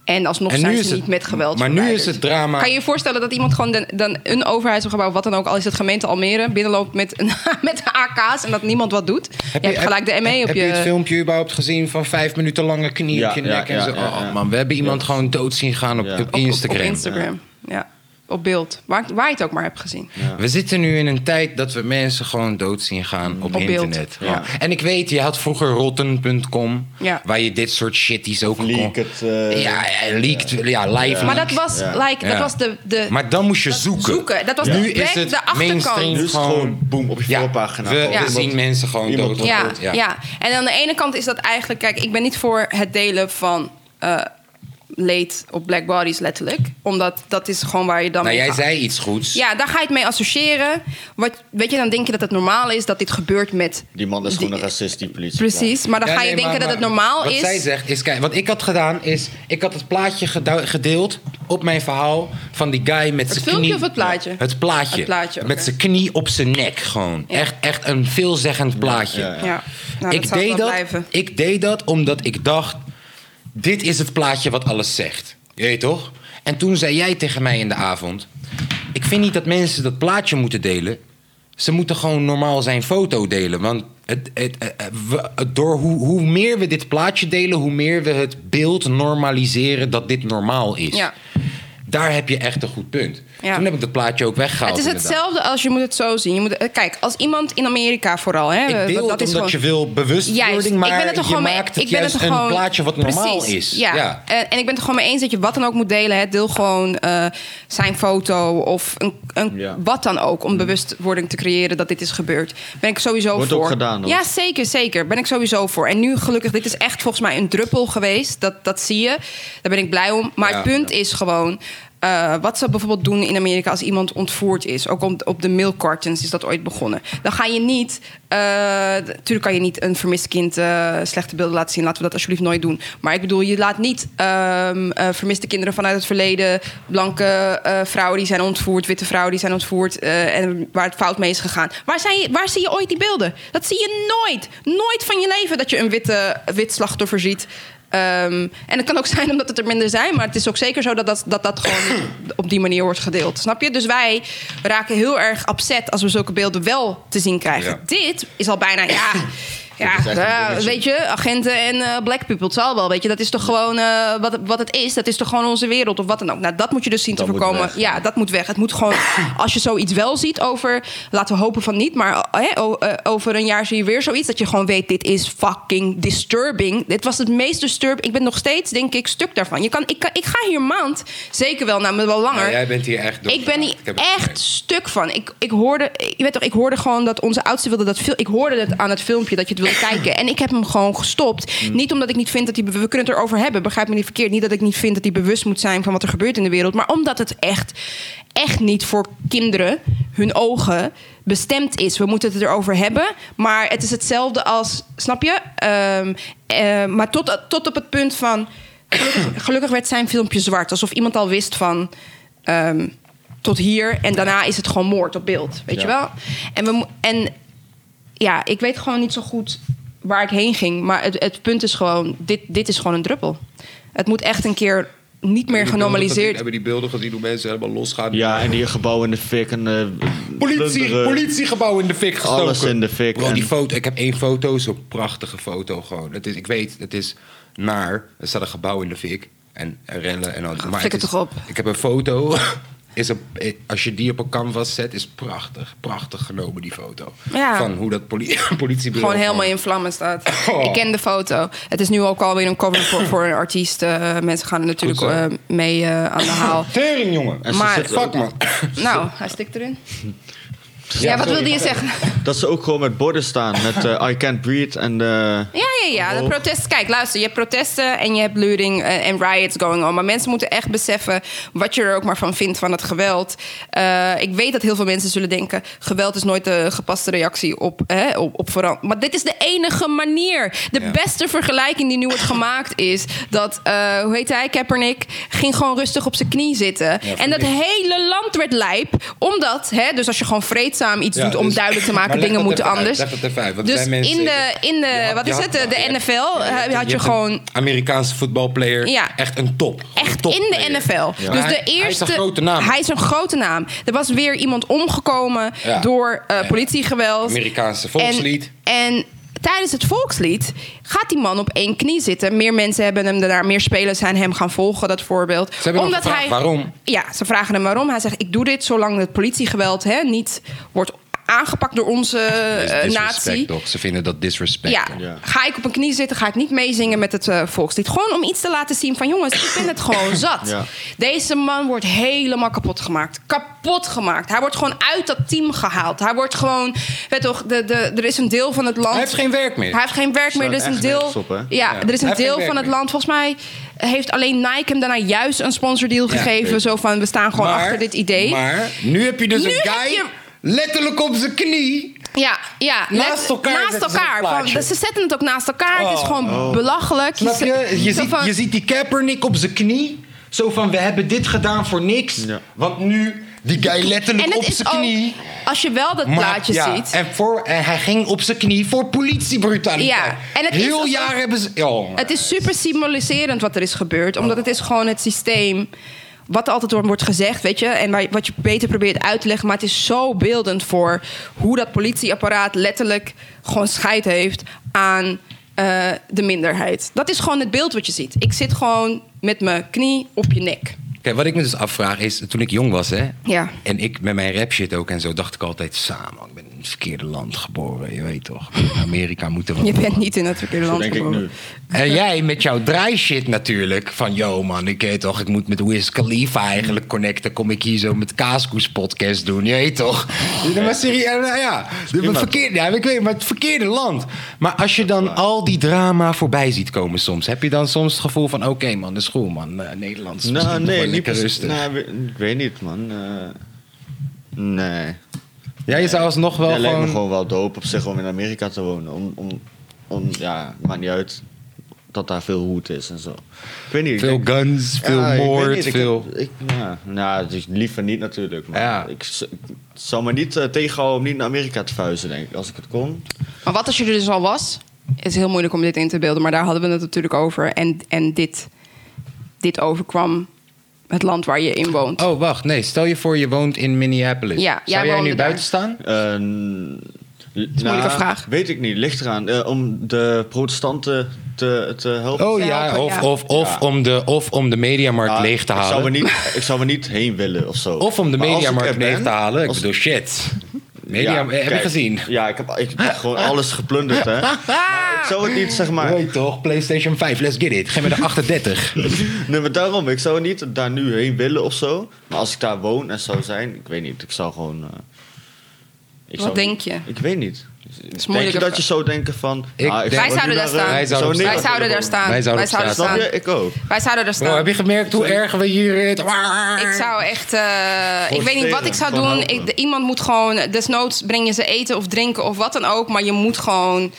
B: En alsnog
A: En nu
B: zijn ze
A: is
B: niet
A: het-
B: met geweld
A: maar nu is
B: verwijderd.
A: het drama-
B: Kan je je voorstellen dat iemand gewoon den- dan een overheidsgebouw... wat dan ook, al is het gemeente Almere... binnenloopt met, een- met AK's en dat niemand wat doet? je, hebt gelijk de ME op
A: heb
B: je...
A: het filmpje überhaupt gezien van vijf minuten lange knieën
C: Ja,
A: op je
C: ja,
A: nek? en
C: ja,
A: zo?
C: ja, ja.
A: Oh man, we hebben iemand gewoon dood zien gaan op,
C: Ja.
A: op
C: Op- op- op
B: op- op-
A: Instagram.
B: Op, Instagram, ja. Op beeld. Waar, waar je het ook maar hebt gezien.
C: Ja.
A: We zitten nu in een tijd dat we mensen gewoon dood zien gaan op,
B: Op beeld.
A: internet.
C: Ja.
A: Gewoon. En ik weet, je had vroeger rotten.com,
B: Ja.
A: waar je dit soort shitties ook
C: Leak
A: kon...
C: het, eh,
A: ja, eh, leaked, ja, live
B: Maar
A: leak.
B: dat was,
C: Ja.
B: like, dat
A: Ja.
B: was de, de
A: Maar dan moest je zoeken.
B: zoeken. Dat was
A: Nu
B: de,
A: is
B: back-
A: het
B: de achterkant.
A: mainstream.
C: Nu is het
A: Gewoon-
C: gewoon boom op je
A: Ja,
C: voorpagina.
A: we-
C: Gewoon
A: we
C: iemand-
A: zien mensen gewoon
C: iemand
A: dood
C: wordt
B: Ja,
A: dood,
B: ja.
A: ja.
B: en aan de ene kant is dat eigenlijk... Kijk, ik ben niet voor het delen van eh, leed op black bodies, letterlijk. Omdat dat is gewoon waar je dan
A: Nou,
B: mee
A: jij
B: gaat.
A: zei iets goeds.
B: Ja, daar ga je het mee associëren. Wat, weet je, dan denk je dat het normaal is dat dit gebeurt met...
C: Die man is gewoon een racist, die politie.
B: Precies, maar dan
A: Ja,
B: ga je
A: nee,
B: denken
A: maar-
B: dat het
A: maar
B: normaal
A: wat
B: is.
A: Wat zij zegt is, kijk, wat ik had gedaan is... Ik had het plaatje gedou- gedeeld op mijn verhaal van die guy met zijn
B: filmpje
A: knie...
B: of het plaatje?
A: Het plaatje.
B: Het plaatje, oké.
A: Met zijn knie op zijn nek gewoon.
B: Ja.
A: Echt, echt een veelzeggend plaatje.
C: ja, ja.
B: Ja, nou,
A: ik,
B: dat zou het
A: deed
B: wel
A: dat,
B: blijven.
A: ik deed dat omdat ik dacht... Dit is het plaatje wat alles zegt. Je weet toch? En toen zei jij tegen mij in de avond... Ik vind niet dat mensen dat plaatje moeten delen. Ze moeten gewoon normaal zijn foto delen. Want het, het, eh, eh, we- het door hoe, hoe meer we dit plaatje delen... hoe meer we het beeld normaliseren dat dit normaal is.
B: Ja.
A: Daar heb je echt een goed punt.
B: Ja.
A: Toen heb ik dat plaatje ook weggehaald.
B: Het is
A: inderdaad.
B: hetzelfde als je moet het zo zien. Je moet, eh, kijk, als iemand in Amerika vooral, hè,
A: Ik
B: eh,
A: deel
B: dat
A: het
B: is
A: omdat
B: gewoon,
A: je wil bewustwording,
B: Juist, ik
A: maar
B: ben het er
A: je
B: gewoon mee.
A: maakt het
B: ik ben
A: juist
B: het er gewoon,
A: een plaatje wat normaal
B: Precies,
A: is.
B: Ja. Eh, En, en ik ben het er gewoon mee eens dat je wat dan ook moet delen. Hè. Deel gewoon eh, zijn foto of een, een,
C: Ja.
B: wat dan ook. Om bewustwording te creëren dat dit is gebeurd. Ben ik sowieso
C: Wordt
B: voor.
C: ook gedaan, hoor.
B: Ja, zeker, zeker. Ben ik sowieso voor. En nu gelukkig, dit is echt volgens mij een druppel geweest. Dat, dat zie je. Daar ben ik blij om. Maar
A: Ja.
B: het punt is gewoon... eh, wat ze bijvoorbeeld doen in Amerika als iemand ontvoerd is. Ook op, op de milk cartons is dat ooit begonnen. Dan ga je niet... eh, Natuurlijk kan je niet een vermist kind eh, slechte beelden laten zien. Laten we dat alsjeblieft nooit doen. Maar ik bedoel, je laat niet ehm, eh, vermiste kinderen vanuit het verleden... blanke eh, vrouwen die zijn ontvoerd, witte vrouwen die zijn ontvoerd... eh, en waar het fout mee is gegaan. Waar, zijn je, waar zie je ooit die beelden? Dat zie je nooit. Nooit van je leven dat je een witte, wit slachtoffer ziet... Ehm, en het kan ook zijn omdat het er minder zijn, maar het is ook zeker zo dat dat, dat, dat gewoon op die manier wordt gedeeld. Snap je? Dus wij raken heel erg upset als we zulke beelden wel te zien krijgen.
A: Ja.
B: Dit is al bijna, ja, ja,
C: echt een
B: ja,
C: dingetje.
B: weet je, agenten en eh, black people, het zal wel, weet je. Dat is toch gewoon eh, wat, wat het is, dat is toch gewoon onze wereld of wat dan ook. Nou, dat moet je dus zien
C: Dat
B: te
C: moet
B: voorkomen.
C: weg.
B: Ja, dat moet weg. Het moet gewoon, als je zoiets wel ziet over, laten we hopen van niet, maar eh, o- eh, over een jaar zie je weer zoiets dat je gewoon weet, dit is fucking disturbing. Dit was het meest disturbing. Ik ben nog steeds, denk ik, stuk daarvan. Je kan, ik, kan, ik ga hier maand, zeker wel, nou, maar wel langer.
A: Maar jij bent hier echt door.
B: Ik ben hier
A: Ik heb het
B: echt
A: gemerkt.
B: stuk van. Ik, ik hoorde, je weet toch, ik hoorde gewoon dat onze oudste wilde dat film. Ik hoorde het aan het filmpje dat je het wilde kijken. En ik heb hem gewoon gestopt.
A: Mm.
B: Niet omdat ik niet vind dat hij. We kunnen het erover hebben, begrijp me niet verkeerd. Niet dat ik niet vind dat hij bewust moet zijn van wat er gebeurt in de wereld. Maar omdat het echt, echt niet voor kinderen, hun ogen, bestemd is. We moeten het erover hebben. Maar het is hetzelfde als, snap je? Ehm, eh, maar tot, tot op het punt van. Gelukkig, gelukkig werd zijn filmpje zwart. Alsof iemand al wist van. ehm, tot hier en daarna is het gewoon moord op beeld, weet
C: Ja.
B: je wel? En, we, mo- en ja, ik weet gewoon niet zo goed waar ik heen ging, maar het, het punt is gewoon, dit, dit is gewoon een druppel. Het moet echt een keer niet meer genormaliseerd.
A: Hebben die beelden gezien hoe mensen helemaal losgaan?
C: Ja, en die gebouwen in de fik en eh,
A: Politie,
C: plunderen.
A: politiegebouw in de fik gestoken.
C: Alles in de fik.
A: Bro,
C: En-
A: die foto, ik heb één foto, zo'n prachtige foto gewoon. Het is, ik weet, het is naar. Er staat een gebouw in de fik. En, en rellen en al. Maar
B: Ah, flik
A: het
B: het
A: is-
B: toch op.
A: Ik heb een foto. Is een, als je die op een canvas zet, is prachtig. Prachtig genomen, die foto.
B: Ja.
A: Van hoe dat poli politiebureau...
B: Gewoon helemaal in vlammen staat.
A: Oh.
B: Ik ken de foto. Het is nu ook alweer een cover voor, voor een artiest. eh, mensen gaan er natuurlijk
A: Goed zo.
B: eh, mee eh, aan de haal.
A: Tering, jongen.
C: En ze
B: Maar-
C: zitten ook-
A: Fuck, man.
B: Nou, hij stikt erin. Ja, wat
A: sorry.
B: wilde je zeggen?
C: Dat ze ook gewoon met borden staan. Met eh, I can't breathe en... eh,
B: Ja, ja, ja. De protesten. Kijk, luister. Je hebt protesten en je hebt looting eh, en riots going on. Maar mensen moeten echt beseffen wat je er ook maar van vindt van het geweld. Eh, ik weet dat heel veel mensen zullen denken... geweld is nooit de gepaste reactie op, hè, op, op verandering. Maar dit is de enige manier. De
A: Ja.
B: beste vergelijking die nu wordt gemaakt is... dat, eh, hoe heet hij, Kaepernick... ging gewoon rustig op zijn knie zitten. en dat
A: ik.
B: hele land werd lijp. Omdat, hè, dus als je gewoon vreedzaam iets
A: Ja,
B: doet... om
A: dus-
B: duidelijk te
A: maar
B: maken,
A: leg
B: dingen
A: dat
B: moeten
A: even uit,
B: anders.
A: leg dat even uit, want er
B: dus
A: zijn mensen-
B: in de, in de
A: Je had-
B: wat
A: je
B: is het,
A: had-
B: de
A: je hebt-
B: NFL...
A: ja, je hebt-
B: had je,
A: hebt
B: gewoon...
A: Een Amerikaanse voetbalplayer.
B: Ja.
A: Echt een top.
B: Echt
A: Top
B: in de
A: player.
B: NFL.
A: Ja.
B: Dus
A: Hij-
B: de eerste,
A: Hij is een grote naam.
B: Hij is een grote naam. Er was weer iemand omgekomen
A: Ja.
B: door eh,
A: Ja.
B: politiegeweld.
A: Amerikaanse volkslied.
B: En, en tijdens het volkslied gaat die man op één knie zitten. Meer mensen hebben hem daarna, meer spelers zijn hem gaan volgen, dat voorbeeld.
A: Ze hebben hem gevraagd waarom.
B: Ja, ze vragen hem waarom. Hij zegt, ik doe dit zolang het politiegeweld hè, niet wordt aangepakt door onze
A: Dat is
B: eh,
A: disrespect,
B: natie.
A: toch? Ze vinden dat disrespect.
B: Ja.
C: Ja.
B: Ga ik op een knie zitten, ga ik niet meezingen met het eh, volkslied. Gewoon om iets te laten zien van jongens, ik ben het gewoon zat.
C: Ja.
B: Deze man wordt helemaal kapot gemaakt. Kapot gemaakt. Hij wordt gewoon uit dat team gehaald. Hij wordt gewoon, weet toch, de, de, er is een deel van het land...
A: Hij heeft geen werk meer.
B: Hij heeft geen werk meer. Er is
C: Staat
B: een
C: echt
B: deel,
C: nergens op, hè?
B: ja,
A: Ja.
B: er is
A: Hij
B: een
A: heeft geen
B: deel
A: werk
B: van het
A: meer.
B: land. Volgens mij heeft alleen Nike hem daarna juist een sponsordeal
A: Ja,
B: gegeven.
A: weet
B: zo van, we staan gewoon achter dit idee.
A: Maar nu heb je dus
B: Nu
A: een
B: heb
A: guy
B: je-
A: letterlijk op zijn knie.
B: Ja, ja.
A: Naast
B: Let-
A: elkaar
B: Naast
A: zetten ze
B: elkaar.
A: het plaatje.
B: Van, dus ze zetten het ook naast elkaar. Het is
A: Oh.
B: gewoon belachelijk.
A: Snap je? Je
B: zo
A: ziet,
B: van-
A: je ziet die Kaepernick op zijn knie. Zo van, we hebben dit gedaan voor niks.
C: Ja.
A: Want nu, die guy
B: en
A: letterlijk op
B: het is
A: zijn
B: ook,
A: knie.
B: als je wel dat
A: Maar-
B: plaatje
A: ja,
B: ziet.
A: En, voor, en hij ging op zijn knie voor politiebrutaliteit.
B: Ja, en het is
A: Heel
B: alsof-
A: jaar hebben ze... Oh,
B: Het is super symboliserend wat er is gebeurd. Omdat het is gewoon het systeem. Wat er altijd door wordt gezegd, weet je. En waar- wat je beter probeert uit te leggen. Maar het is zo beeldend voor hoe dat politieapparaat letterlijk gewoon scheid heeft aan eh, de minderheid. Dat is gewoon het beeld wat je ziet. Ik zit gewoon met mijn knie op je nek.
A: Kijk, wat ik me dus afvraag is, toen ik jong was, hè,
B: Ja.
A: en ik met mijn rap shit ook en zo, dacht ik altijd, samen, ik ben in het verkeerde land geboren, je weet toch. In Amerika moeten we...
B: Je bent niet in het verkeerde
C: Zo
B: land
C: denk ik
B: geboren.
C: nu.
A: En jij met jouw draai shit natuurlijk, van yo man, ik weet toch, ik moet met Wiz Khalifa eigenlijk connecten, kom ik hier zo met Kaaskoes podcast doen, je weet toch. Ja, maar serieus, ja, nou ja, het verkeerde, ja, ik weet, maar het verkeerde land. Maar als je dan al die drama voorbij ziet komen soms, heb je dan soms het gevoel van, oké man, de school man, eh, Nederlands, is
C: Nou,
A: misschien toch
C: nee,
A: wel
C: niet
A: lekker
C: precies.
A: rustig.
C: Nou, we- ik weet niet, man. Eh, nee.
A: Ja, je zou alsnog wel
C: Het lijkt me
A: gewoon...
C: gewoon wel dope op zich om in Amerika te wonen. Om, om, om, ja, maakt niet uit dat daar veel hoed is en zo. Ik weet niet. ik
A: Veel
C: denk-
A: guns, veel
C: Ja, ik weet
A: moord,
C: niet, ik
A: veel...
C: heb- ik, ja, nou, het is liever niet natuurlijk. Maar
A: Ja.
C: ik, z- ik zal me niet eh, tegenhouden om niet naar Amerika te verhuizen, denk ik. Als ik het kon.
B: Maar wat als je er dus al was? Het is heel moeilijk om dit in te beelden, maar daar hadden we het natuurlijk over. En, en dit, dit overkwam het land waar je in woont.
A: Oh, wacht, nee, stel je voor je woont in Minneapolis.
B: Ja, jij
A: zou jij nu
B: woonde daar.
A: buiten staan?
C: Eh, nou,
B: vraag.
C: Weet ik niet. Ligt eraan. eh, om de protestanten te, te helpen.
A: Oh
B: Te
A: ja,
B: helpen,
A: of,
B: ja.
A: Of, of,
C: Ja.
A: Om de, of om de mediamarkt
C: Ah,
A: leeg te
C: Ik zou, er
A: halen.
C: niet, ik zou er niet heen willen of zo.
A: Of om de
C: Maar als ik er
A: mediamarkt leeg
C: ben-
A: te halen. Ik
C: als-
A: bedoel, shit. Media,
C: Ja,
A: heb je
C: kijk,
A: gezien?
C: Ja, ik heb, ik heb gewoon alles geplunderd, hè. Maar ik zou het niet, zeg maar...
A: Weet toch, PlayStation 5, let's get it. Geef me de 38.
C: Nee, maar daarom, ik zou niet daar nu heen willen of zo. Maar als ik daar woon en zou zijn, ik weet niet, ik zou gewoon... eh, ik
B: Wat denk je?
C: Ik weet niet.
B: is
C: denk je
B: moeilijker.
C: dat je zou denken van...
A: Ik
C: ah,
A: denk-
C: zou
B: Wij
C: nu
B: zouden daar
C: naar, eh,
B: staan.
A: Wij
C: zou
A: zouden-
C: Nederland
B: Wij zouden daar
C: willen
B: staan.
A: Wij zouden op
C: wonen.
A: staan.
C: Snap je? Ik ook.
B: Wij zouden daar
A: Bro,
B: staan.
A: heb je gemerkt hoe erg we hier... het-
B: Ik zou echt. eh, ik weet niet wat ik zou
C: Gewoon
B: doen.
C: helpen.
B: Ik, de- iemand moet gewoon. Desnoods breng je ze eten of drinken of wat dan ook. Maar je moet gewoon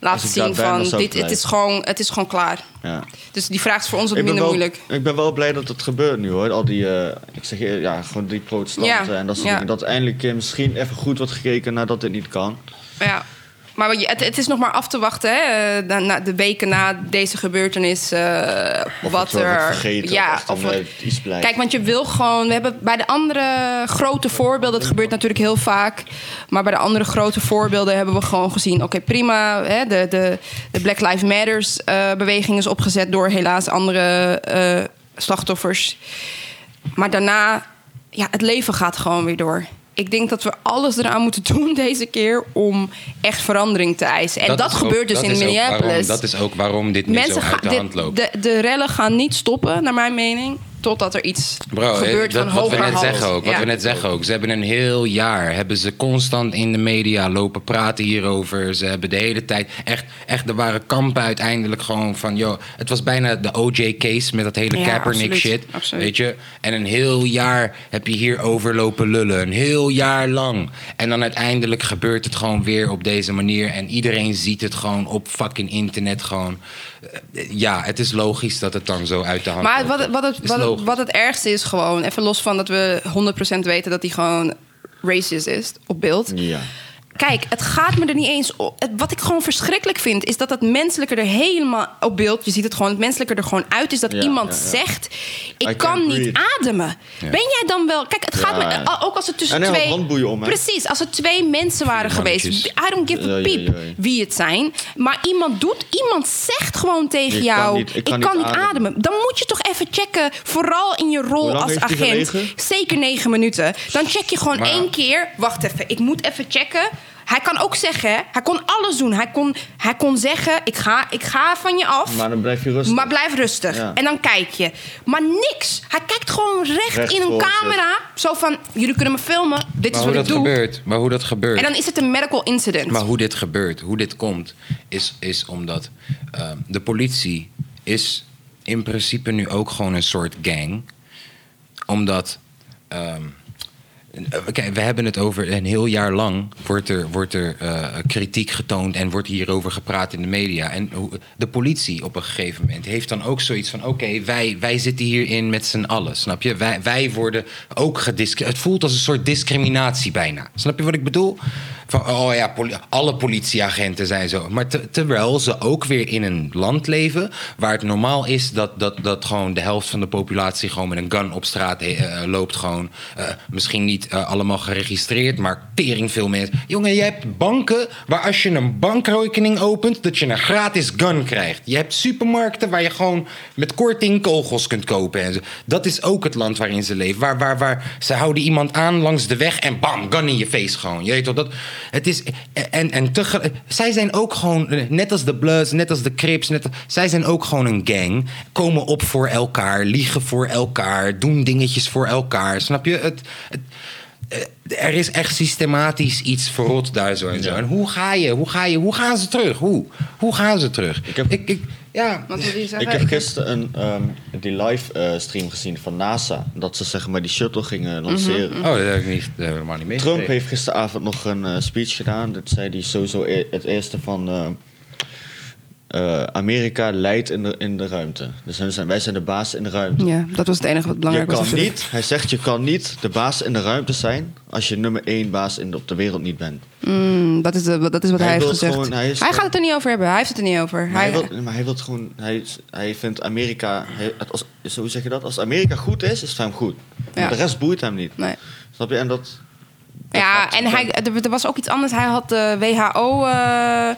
B: laten
C: ik daar
B: zien
C: ben, dan
B: van.
C: zou ik
B: Dit, het, is
C: blijven.
B: gewoon, het is gewoon klaar.
C: Ja.
B: Dus die vraag is voor ons wat
C: Ik ben,
B: minder
C: wel,
B: moeilijk.
C: ik ben wel blij dat het gebeurt nu hoor. Al die, eh, ik zeg eer- ja, gewoon die protestanten
B: Ja,
C: en dat soort
B: ja.
C: dingen. Dat eindelijk eh, misschien even goed wordt gekeken nadat dit niet kan.
B: Ja. Maar je- het, het is nog maar af te wachten, hè? eh, na- na- de weken na deze gebeurtenis. eh,
C: Of
B: wat
C: het wel
B: er.
C: wordt vergeten
B: ja,
C: of echt een,
B: wat-
C: eh, iets blijft.
B: Kijk, want je wil gewoon. We hebben bij de andere grote voorbeelden. Het gebeurt natuurlijk heel vaak. Maar bij de andere grote voorbeelden hebben we gewoon gezien. Oké, prima. Hè, de, de, de Black Lives Matters eh, beweging is opgezet door helaas andere eh, slachtoffers. Maar daarna, ja, het leven gaat gewoon weer door. Ik denk dat we alles eraan moeten doen deze keer om echt verandering te eisen. En dat,
A: is ook-
B: gebeurt dus
A: dat
B: in
A: is ook
B: Minneapolis.
A: waarom- dat is ook waarom dit nu zo
B: gaan-
A: uit de
B: dit-
A: hand loopt.
B: De, de rellen gaan niet stoppen, naar mijn mening, totdat er iets
A: Bro, eh,
B: gebeurt
A: dat,
B: van
A: wat we
B: hoger
A: net
B: hand.
A: zeggen ook. Wat
B: Ja.
A: we net zeggen ook. Ze hebben een heel jaar hebben ze constant in de media lopen praten hierover. Ze hebben de hele tijd echt, echt er waren kampen uiteindelijk gewoon van joh, het was bijna de OJ case met dat hele
B: Ja,
A: Kaepernick
B: absoluut,
A: shit,
B: absoluut.
A: weet je? En een heel jaar heb je hierover lopen lullen, een heel jaar lang. En dan uiteindelijk gebeurt het gewoon weer op deze manier en iedereen ziet het gewoon op fucking internet gewoon. Eh, Ja, het is logisch dat het dan zo uit de hand
B: Maar
A: loopt.
B: wat, wat, het,
A: Is
B: wat, het,
A: logisch.
B: wat het ergste is gewoon, even los van dat we 100% weten dat hij gewoon racist is op beeld.
C: Ja.
B: Kijk, het gaat me er niet eens op. Het- Wat ik gewoon verschrikkelijk vind, is dat het menselijke er helemaal op beeld. Je ziet het gewoon, het menselijke er gewoon uit is dat
C: Ja,
B: iemand
C: ja, ja.
B: zegt: Ik
C: I
B: kan
C: can't
B: niet
C: breathe.
B: ademen. Ben jij dan wel. Kijk, het gaat
C: Ja.
B: me. al- Ook als het tussen
C: En er
B: twee.
C: hangt handboeien om, hè?
B: Precies, als er twee mensen waren geweest.
A: mannetjes.
B: I don't give
C: Ja,
B: a
C: ja,
B: piep
C: ja, ja.
B: wie het zijn. Maar iemand doet, iemand zegt gewoon tegen
C: Ik kan
B: jou:
C: niet-
B: Ik kan niet ademen. Dan moet je toch even checken, vooral in je
C: Hoe
B: rol
C: lang
B: als
C: heeft die
B: agent.
C: gelegen?
B: Zeker negen minuten. Dan check je gewoon
A: Maar-
B: één keer. Wacht even, ik moet even checken. Hij kan ook zeggen, hè, hij kon alles doen. Hij kon, hij kon zeggen, ik ga, ik ga van je af.
C: Maar
B: Maar
C: dan blijf je rustig.
B: blijf rustig.
C: Ja.
B: En dan kijk je. Maar niks. Hij kijkt gewoon recht,
C: Recht
B: in een
C: voor zich.
B: camera. Zo van, jullie kunnen me filmen. Dit
A: Maar
B: is
A: hoe
B: wat ik
A: dat
B: doe.
A: gebeurt, maar hoe dat gebeurt.
B: En dan is het een medical incident.
A: Maar hoe dit gebeurt, hoe dit komt, is, is omdat ehm, de politie is in principe nu ook gewoon een soort gang. Omdat. ehm, eh, Kijk, we hebben het over een heel jaar lang wordt er, wordt er eh, kritiek getoond en wordt hierover gepraat in de media. En hoe- de politie op een gegeven moment heeft dan ook zoiets van: oké, wij, wij zitten hierin met z'n allen, snap je? Wij, wij worden ook gediscrimineerd. Het voelt als een soort discriminatie bijna. Snap je wat ik bedoel? Van, oh ja, poli- alle politieagenten zijn zo. Maar te- terwijl ze ook weer in een land leven waar het normaal is dat, dat, dat gewoon de helft van de populatie gewoon met een gun op straat he- eh, loopt. Gewoon, eh, misschien niet eh, allemaal geregistreerd, maar tering veel mensen. Jongen, je hebt banken waar als je een bankrekening opent, dat je een gratis gun krijgt. Je hebt supermarkten waar je gewoon met korting kogels kunt kopen. En zo. Dat is ook het land waarin ze leven. Waar, waar, waar ze houden iemand aan langs de weg en bam, gun in je face gewoon. Je weet toch, dat, het is, en, en tegelijk, zij zijn ook gewoon, eh, net als de Bloods, net als de Crips, net, zij zijn ook gewoon een gang. Komen op voor elkaar, liegen voor elkaar, doen dingetjes voor elkaar. Snap je? Het, het, eh, er is echt systematisch iets verrot daar zo en zo. En hoe ga je, hoe ga je, hoe gaan ze terug? Hoe? Hoe gaan ze terug?
C: Ik heb-
A: ik, ik- ja,
B: Wat wil je zeggen?
C: Ik heb gisteren een, ehm, die live eh, stream gezien van NASA. Dat ze zeg maar die shuttle gingen lanceren.
A: oh, dat heb ik niet, dat heb ik helemaal niet mee.
C: Trump heeft gisteravond nog een eh, speech gedaan. Dat zei hij sowieso e- het eerste van... eh, eh, Amerika leidt in de, in de ruimte. Dus hun zijn, wij zijn de baas in de ruimte.
B: Ja, dat was het enige wat
C: Je
B: Mm, belangrijk was.
C: kan
B: natuurlijk.
C: niet, hij zegt je kan niet de baas in de ruimte zijn... als je nummer één baas in de, op de wereld niet bent.
B: Mm, dat, is de- dat is wat hij,
C: Hij
B: heeft
C: wil
B: gezegd.
C: gewoon- hij
B: hij
C: is gewoon-
B: gaat het er niet over hebben. Hij heeft het er niet over.
C: Maar hij,
B: Hij-
C: wil, maar hij wil gewoon. Hij, hij vindt Amerika. Hij, het als, zo hoe zeg je dat? Als Amerika goed is, is het voor hem goed.
B: Ja.
C: De rest boeit hem niet.
B: Nee.
C: Snap je? En dat.
B: Ja, en hij, er, er was ook iets anders. Hij had de WHO eh,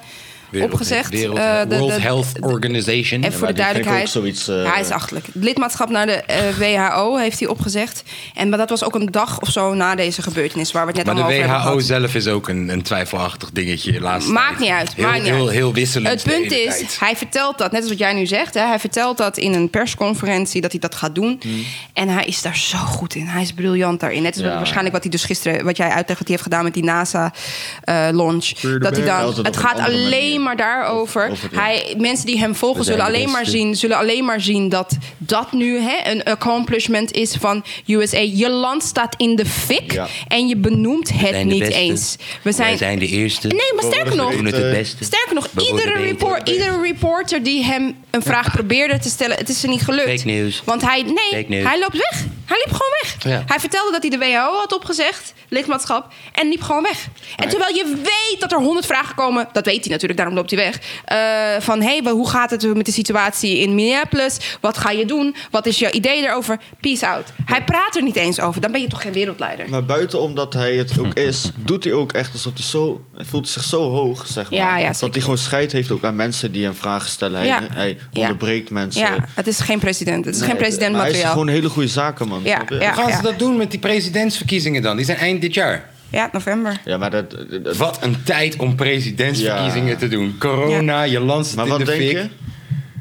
A: Wereld-
B: opgezegd.
A: Wereld-
B: eh, de- de-
A: World Health Organization.
B: En voor de
C: die vind ik
B: duidelijkheid,
C: ook zoiets, eh,
B: hij is achterlijk. Het lidmaatschap naar de eh, WHO heeft hij opgezegd. En maar dat was ook een dag of zo na deze gebeurtenis waar we het net
A: Maar
B: allemaal
A: de
B: over hebben
A: WHO
B: gehad.
A: zelf is ook een, een twijfelachtig dingetje. Laatst
B: Maakt niet uit.
A: Heel,
B: maakt niet
A: heel,
B: uit.
A: heel wisselend.
B: Het
A: de
B: punt
A: hele
B: is,
A: tijd.
B: hij vertelt dat, net als wat jij nu zegt, hè, hij vertelt dat in een persconferentie dat hij dat gaat doen.
A: Hmm.
B: En hij is daar zo goed in. Hij is briljant daarin. Net als
C: Ja.
B: wat- waarschijnlijk wat hij dus gisteren, wat jij uitlegt, wat hij heeft gedaan met die NASA-launch. dat hij
C: Altijd
B: dan,
C: op
B: het
C: een
B: gaat
C: andere
B: alleen
C: manier.
B: maar daarover.
C: Of- of het-
B: hij, mensen die hem volgen
C: We zijn
B: zullen
C: de
B: alleen, maar
C: beste.
B: zien, zullen alleen maar zien dat dat nu hè, een accomplishment is van USA. Je land staat in de fik
C: Ja.
B: en je benoemt het
A: zijn de
B: niet
A: beste.
B: eens. We
A: Wij
B: zijn,
A: zijn de eerste.
B: Nee, maar
C: We
B: sterker
C: worden
B: nog,
A: We doen het het
C: Eh,
A: beste.
B: Sterker nog,
A: We worden
B: iedere,
A: beter.
B: report, iedere reporter die hem een vraag probeerde te stellen, het is er niet gelukt.
A: Fake news.
B: Want hij, nee,
A: Fake news.
B: hij loopt weg. Hij liep gewoon weg.
A: Ja.
B: Hij vertelde dat hij de WHO had opgezegd, lidmaatschap, en liep gewoon weg. En terwijl je weet dat er honderd vragen komen, dat weet hij natuurlijk, daarom loopt hij weg. eh, van hé, hey, hoe gaat het met de situatie in Minneapolis? Wat ga je doen? Wat is jouw idee daarover? Peace out. Hij praat er niet eens over. Dan ben je toch geen wereldleider.
C: Maar buiten omdat hij het ook is, doet hij ook echt alsof hij zo. Hij voelt zich zo hoog, zeg maar.
B: Ja, ja,
C: dat
B: zeker.
C: hij gewoon scheid heeft ook aan mensen die hem vragen stellen. Hij,
B: Ja.
C: hij
B: Ja.
C: onderbreekt mensen.
B: Ja, het is geen president. Het is geen president
C: Maar Hij is
B: materiaal.
C: gewoon een hele goede zakenman.
B: Ja,
C: snap je?
B: ja.
A: Hoe gaan ze dat doen met die presidentsverkiezingen dan? Die zijn eind dit jaar.
B: Ja, november.
C: Ja, maar dat. dat- dat-
A: Wat een tijd om presidentsverkiezingen
C: Ja.
A: te doen. Corona, je land zit
C: maar
A: in
C: wat
A: de
C: denk
A: fik.
C: je?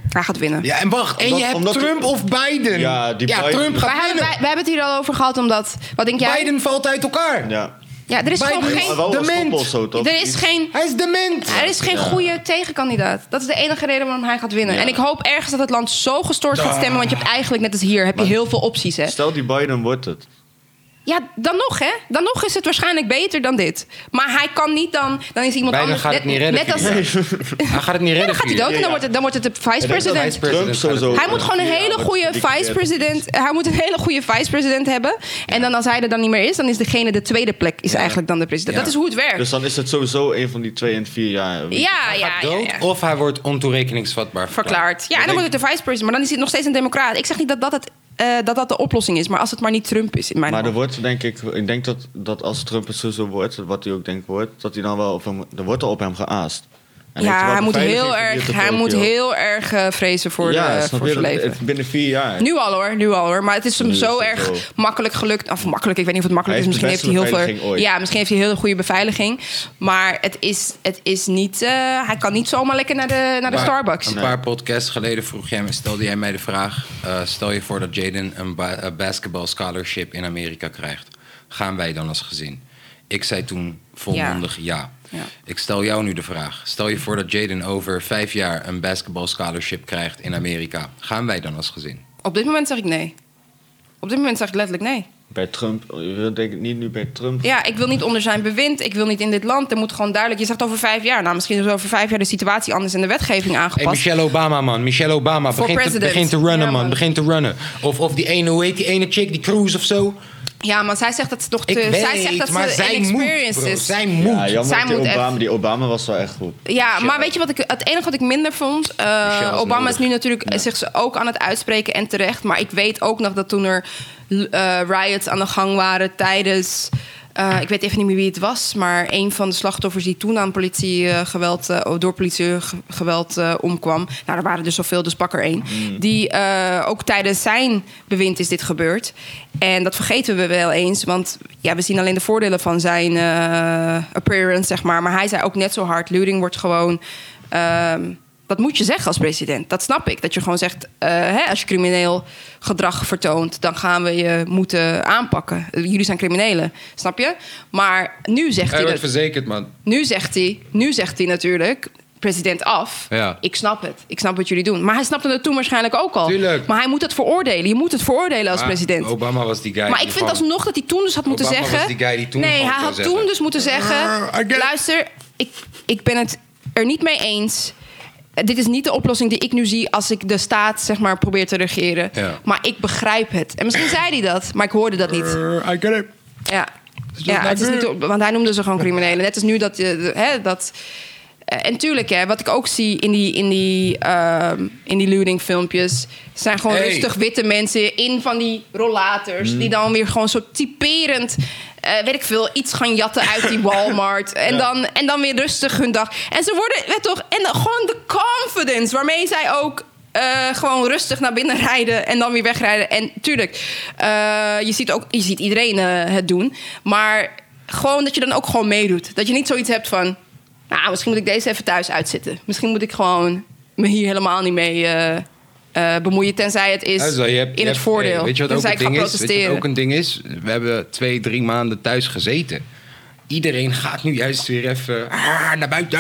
B: Hij gaat winnen.
A: Ja, en wacht. En
C: Omdat-
A: je hebt
C: omdat-
A: Trump of Biden.
C: Ja, die Biden-
A: Trump
B: Wij
A: gaat
B: hebben,
A: winnen.
B: wij- we hebben het hier al over gehad, omdat... Wat denk jij?
A: Biden valt uit elkaar.
C: Ja.
B: ja, er is gewoon
A: Biden-
C: Maar
B: geen...
C: wel als
A: Dement.
C: koppel zo toch?
B: Er is geen...
A: Hij is dement.
B: Er is geen goede tegenkandidaat. Dat is de enige reden waarom hij gaat winnen.
C: Ja.
B: En ik hoop ergens dat het land zo gestoord gaat stemmen. Want je hebt eigenlijk, net als hier, heb je heel veel opties. Hè?
C: Stel die Biden wordt het.
B: Ja, dan nog, hè? Dan nog is het waarschijnlijk beter dan dit. Maar hij kan niet dan. Dan is iemand
A: Biden
B: anders.
A: gaat het niet redden
B: net als,
A: voor
B: ja,
A: Hij gaat het niet redden.
B: dan gaat hij dood. En dan
C: Ja.
B: wordt het, dan wordt het de vice-president.
A: vice-president
C: Trump sowieso.
B: Hij moet gewoon een
C: Ja,
B: hele
C: maar
B: goede
C: die- die-
B: vice-president. Hij moet een hele goede vice-president hebben. En dan als hij er dan niet meer is, dan is degene de tweede plek is eigenlijk dan de president.
A: Ja.
B: Dat is hoe het werkt.
C: Dus dan is het sowieso een van die twee in vier jaar.
B: ja,
A: Hij
B: ja,
A: gaat
B: ja,
A: dood
B: ja.
A: of hij wordt ontoerekeningsvatbaar
B: Verklaard. Ja, en dan wordt het de vice-president. Maar dan is hij nog steeds een democraat. Ik zeg niet dat dat, het, eh, dat dat de oplossing is. Maar als het maar niet Trump is in mijn
C: Maar er
B: ogen.
C: wordt denk ik, ik denk dat, dat als Trump het sowieso wordt, wat hij ook denkt wordt, dat hij dan wel op hem, er wordt al op hem geaast. En heeft
B: Ja,
C: wel
B: hij moet
C: beveiliging
B: heel
C: hier
B: erg,
C: te
B: hij
C: Tokio.
B: moet heel erg eh, vrezen voor,
C: ja,
B: de-
C: snap
B: voor
C: je?
B: zijn
C: Dat-
B: leven.
C: het- binnen vier jaar.
B: Nu al hoor, nu al hoor. Maar het is hem
C: Nu is
B: zo
C: het
B: erg
C: wel.
B: makkelijk gelukt. Of makkelijk, ik weet niet of het makkelijk
C: Hij
B: is. Misschien
C: heeft
B: heeft
C: de
B: hij heel
C: beste
B: veel.
C: beveiliging ooit.
B: Ja, misschien heeft hij hele goede beveiliging. Maar het is, het is niet. eh, hij kan niet zomaar lekker naar de, naar de
A: Een paar-
B: Starbucks.
A: Een paar podcasts geleden vroeg jij, me- stelde jij mij de vraag... eh, stel je voor dat Jaden een ba- eh, basketball scholarship in Amerika krijgt. Gaan wij dan als gezin? Ik zei toen volmondig ja.
B: Ja.
A: Ik stel jou nu de vraag. Stel je voor dat Jaden over vijf jaar een basketball scholarship krijgt in Amerika. Gaan wij dan als gezin?
B: Op dit moment zeg ik nee. Op dit moment zeg ik letterlijk nee.
C: Bij Trump, je wilt denk ik niet nu bij Trump.
B: Ja, ik wil niet onder zijn bewind. Ik wil niet in dit land. Er moet gewoon duidelijk. Je zegt over vijf jaar. Nou, misschien is over vijf jaar de situatie anders en de wetgeving
A: Hey,
B: aangepast.
A: Michelle Obama, man. Michelle Obama.
B: Voor
A: Begint te,
B: president.
A: begint te runnen,
B: Ja, man.
A: man. Begint te runnen. Of, of die ene, hoe heet die ene chick, die Cruise of zo.
B: Ja, maar zij zegt dat ze nog te...
A: Ik weet,
B: zij zegt dat
A: maar
B: ze
A: zij moet,
B: inexperienced
A: bro.
B: is.
A: Zij moet.
C: Ja, jammer
B: Zij
C: dat die
B: moet
C: Obama,
B: echt-
C: die Obama was wel echt goed.
B: Ja,
C: Michelle.
B: maar weet je wat ik... Het enige wat ik minder vond... eh,
A: Michelle is
B: Obama
A: nodig.
B: is nu natuurlijk eh, zich ook aan het uitspreken en terecht. Maar ik weet ook nog dat toen er eh, riots aan de gang waren tijdens... eh, ik weet even niet meer wie het was, maar een van de slachtoffers die toen aan eh, politiegeweld, door politiegeweld eh, omkwam. Nou, er waren er zoveel, dus pak er één.
A: Mm.
B: Die eh, ook tijdens zijn bewind is dit gebeurd. En dat vergeten we wel eens, want ja, we zien alleen de voordelen van zijn eh, appearance, zeg maar. Maar hij zei ook net zo hard: Luring wordt gewoon. ehm, dat moet je zeggen als president. Dat snap ik. Dat je gewoon zegt, eh, hè, als je crimineel gedrag vertoont, dan gaan we je moeten aanpakken. Eh, Jullie zijn criminelen, snap je? Maar nu zegt
D: Hij
B: hij
D: wordt
B: dat.
D: verzekerd, man.
B: Nu zegt hij, nu zegt hij natuurlijk, president af.
D: Ja.
B: Ik snap het. Ik snap wat jullie doen. Maar hij snapte het toen waarschijnlijk ook al.
D: Tuurlijk.
B: Maar hij moet het veroordelen. Je moet het veroordelen als
A: Maar
B: president.
A: Obama was die guy.
B: Maar
A: die
B: ik vind
A: gewoon-
B: alsnog dat hij toen dus had moeten
A: Obama was
B: zeggen.
A: die guy die toen
B: nee,
A: gewoon
B: hij
A: kon
B: had
A: zeggen. Ah,
B: toen dus moeten zeggen.
A: I get-
B: Luister, ik, ik ben het er niet mee eens. Eh, Dit is niet de oplossing die ik nu zie als ik de staat zeg maar, probeer te regeren.
A: Ja.
B: Maar ik begrijp het. En misschien zei hij dat, maar ik hoorde dat niet.
A: Eh, I get it.
B: Ja,
A: not
B: ja het is
A: good.
B: niet, de op- want hij noemde ze gewoon criminelen. Net als nu dat... je de- hè, dat eh, en tuurlijk, hè, wat ik ook zie in die, in die, ehm, in die looting filmpjes... zijn gewoon
A: Hey.
B: rustig witte mensen in van die rollators... die dan weer gewoon zo typerend... eh, weet ik veel, iets gaan jatten uit die Walmart. En, dan, en dan weer rustig hun dag. En ze worden, weet toch... En dan gewoon de confidence waarmee zij ook... eh, gewoon rustig naar binnen rijden en dan weer wegrijden. En tuurlijk, eh, je, ziet ook, je ziet iedereen eh, het doen. Maar gewoon dat je dan ook gewoon meedoet. Dat je niet zoiets hebt van... Nou, misschien moet ik deze even thuis uitzitten. Misschien moet ik gewoon me hier helemaal niet mee eh, eh, bemoeien. Tenzij het is
D: Luister, Nou, je hebt- je
B: in het
D: hebt-
B: voordeel. Dus
D: hey, weet je wat ook
B: tenzij
D: een
B: ik ga
D: ding is? Weet je wat
B: protesteren.
D: ook een ding is? We hebben twee, drie maanden thuis gezeten. Iedereen gaat nu juist weer even ah, naar buiten.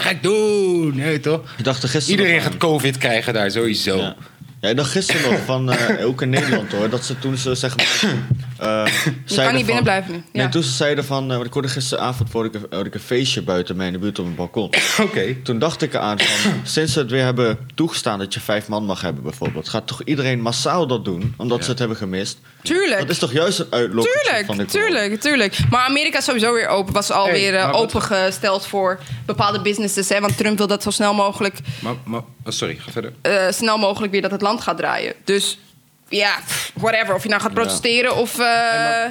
D: Ga ik doen. Nee, toch?
C: Ik dacht er gisteren
A: Iedereen
C: nog aan.
A: gaat COVID krijgen daar sowieso.
C: Ja. Ja, ik dacht gisteren nog van, eh, ook in Nederland hoor, dat ze toen ze zeg maar. eh, zeiden
B: niet binnen blijven nu. Ja.
C: Nee, toen ze zeiden van, eh, want ik hoorde gisteravond voor ik, een- hoorde ik een feestje buiten mij in de buurt op een balkon.
A: Oké.
C: Toen dacht ik eraan van, sinds ze het weer hebben toegestaan dat je vijf man mag hebben bijvoorbeeld, gaat toch iedereen massaal dat doen, omdat ze het hebben gemist.
B: Tuurlijk.
C: Dat is toch juist een uitloop van de
B: Tuurlijk, tuurlijk, tuurlijk. Maar Amerika is sowieso weer open. Was alweer
D: maar
B: eh,
D: wat-
B: opengesteld voor bepaalde businesses. Hè? Want Trump wil dat zo snel mogelijk,
A: Maar, maar, oh, sorry, ga verder.
B: eh, snel mogelijk weer dat het land gaat draaien. Dus ja, pff, whatever. Of je nou gaat protesteren of eh,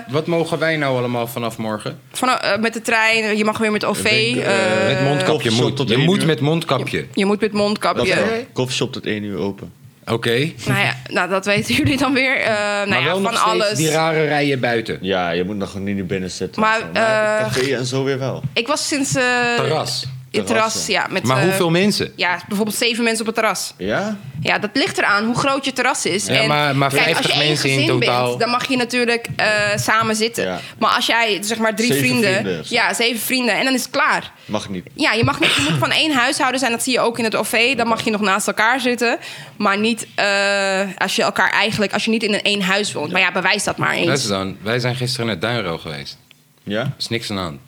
D: Wat mogen wij nou allemaal vanaf morgen?
B: van, eh, met de trein. Je mag weer met OV.
C: Winkel,
B: eh,
A: met mondkapje
C: Coffeeshop
A: moet.
C: tot
A: Je
C: één
A: moet
C: uur.
A: met mondkapje.
B: je moet met mondkapje.
C: Dat wel. Koffieshop tot één uur open.
A: Oké.
B: Nou ja, nou, dat weten jullie dan weer. Eh, nou
D: maar
B: ja,
D: wel
B: van
D: nog steeds
B: alles.
D: die rare rijen buiten.
C: Ja, je moet nog gewoon niet binnen zitten.
B: Maar,
C: en zo. maar
B: eh,
C: café en zo weer wel.
B: Ik was sinds... eh,
A: Terras.
B: in het terras, ja. Met,
A: Maar
B: eh,
A: hoeveel mensen?
B: Ja, bijvoorbeeld zeven mensen op het terras.
C: Ja?
B: Ja, dat ligt eraan hoe groot je terras is.
A: Ja, maar- maar 50
B: één
A: mensen in
B: gezin
A: totaal.
B: dan mag je natuurlijk eh, samen zitten.
C: Ja.
B: Maar als jij, zeg maar, drie
C: Zeven
B: vrienden...
C: vrienden of zo.
B: ja, zeven vrienden. En dan is het klaar.
C: Mag niet.
B: Ja, je mag niet je moet van één huishouden zijn. Dat zie je ook in het OV. Dan mag je nog naast elkaar zitten. Maar niet eh, als je elkaar eigenlijk... Als je niet in een één huis woont. Maar ja, bewijs dat maar eens.
A: Dat is dan. Wij zijn gisteren naar Duinro geweest.
C: Ja?
A: Er is niks aan aan.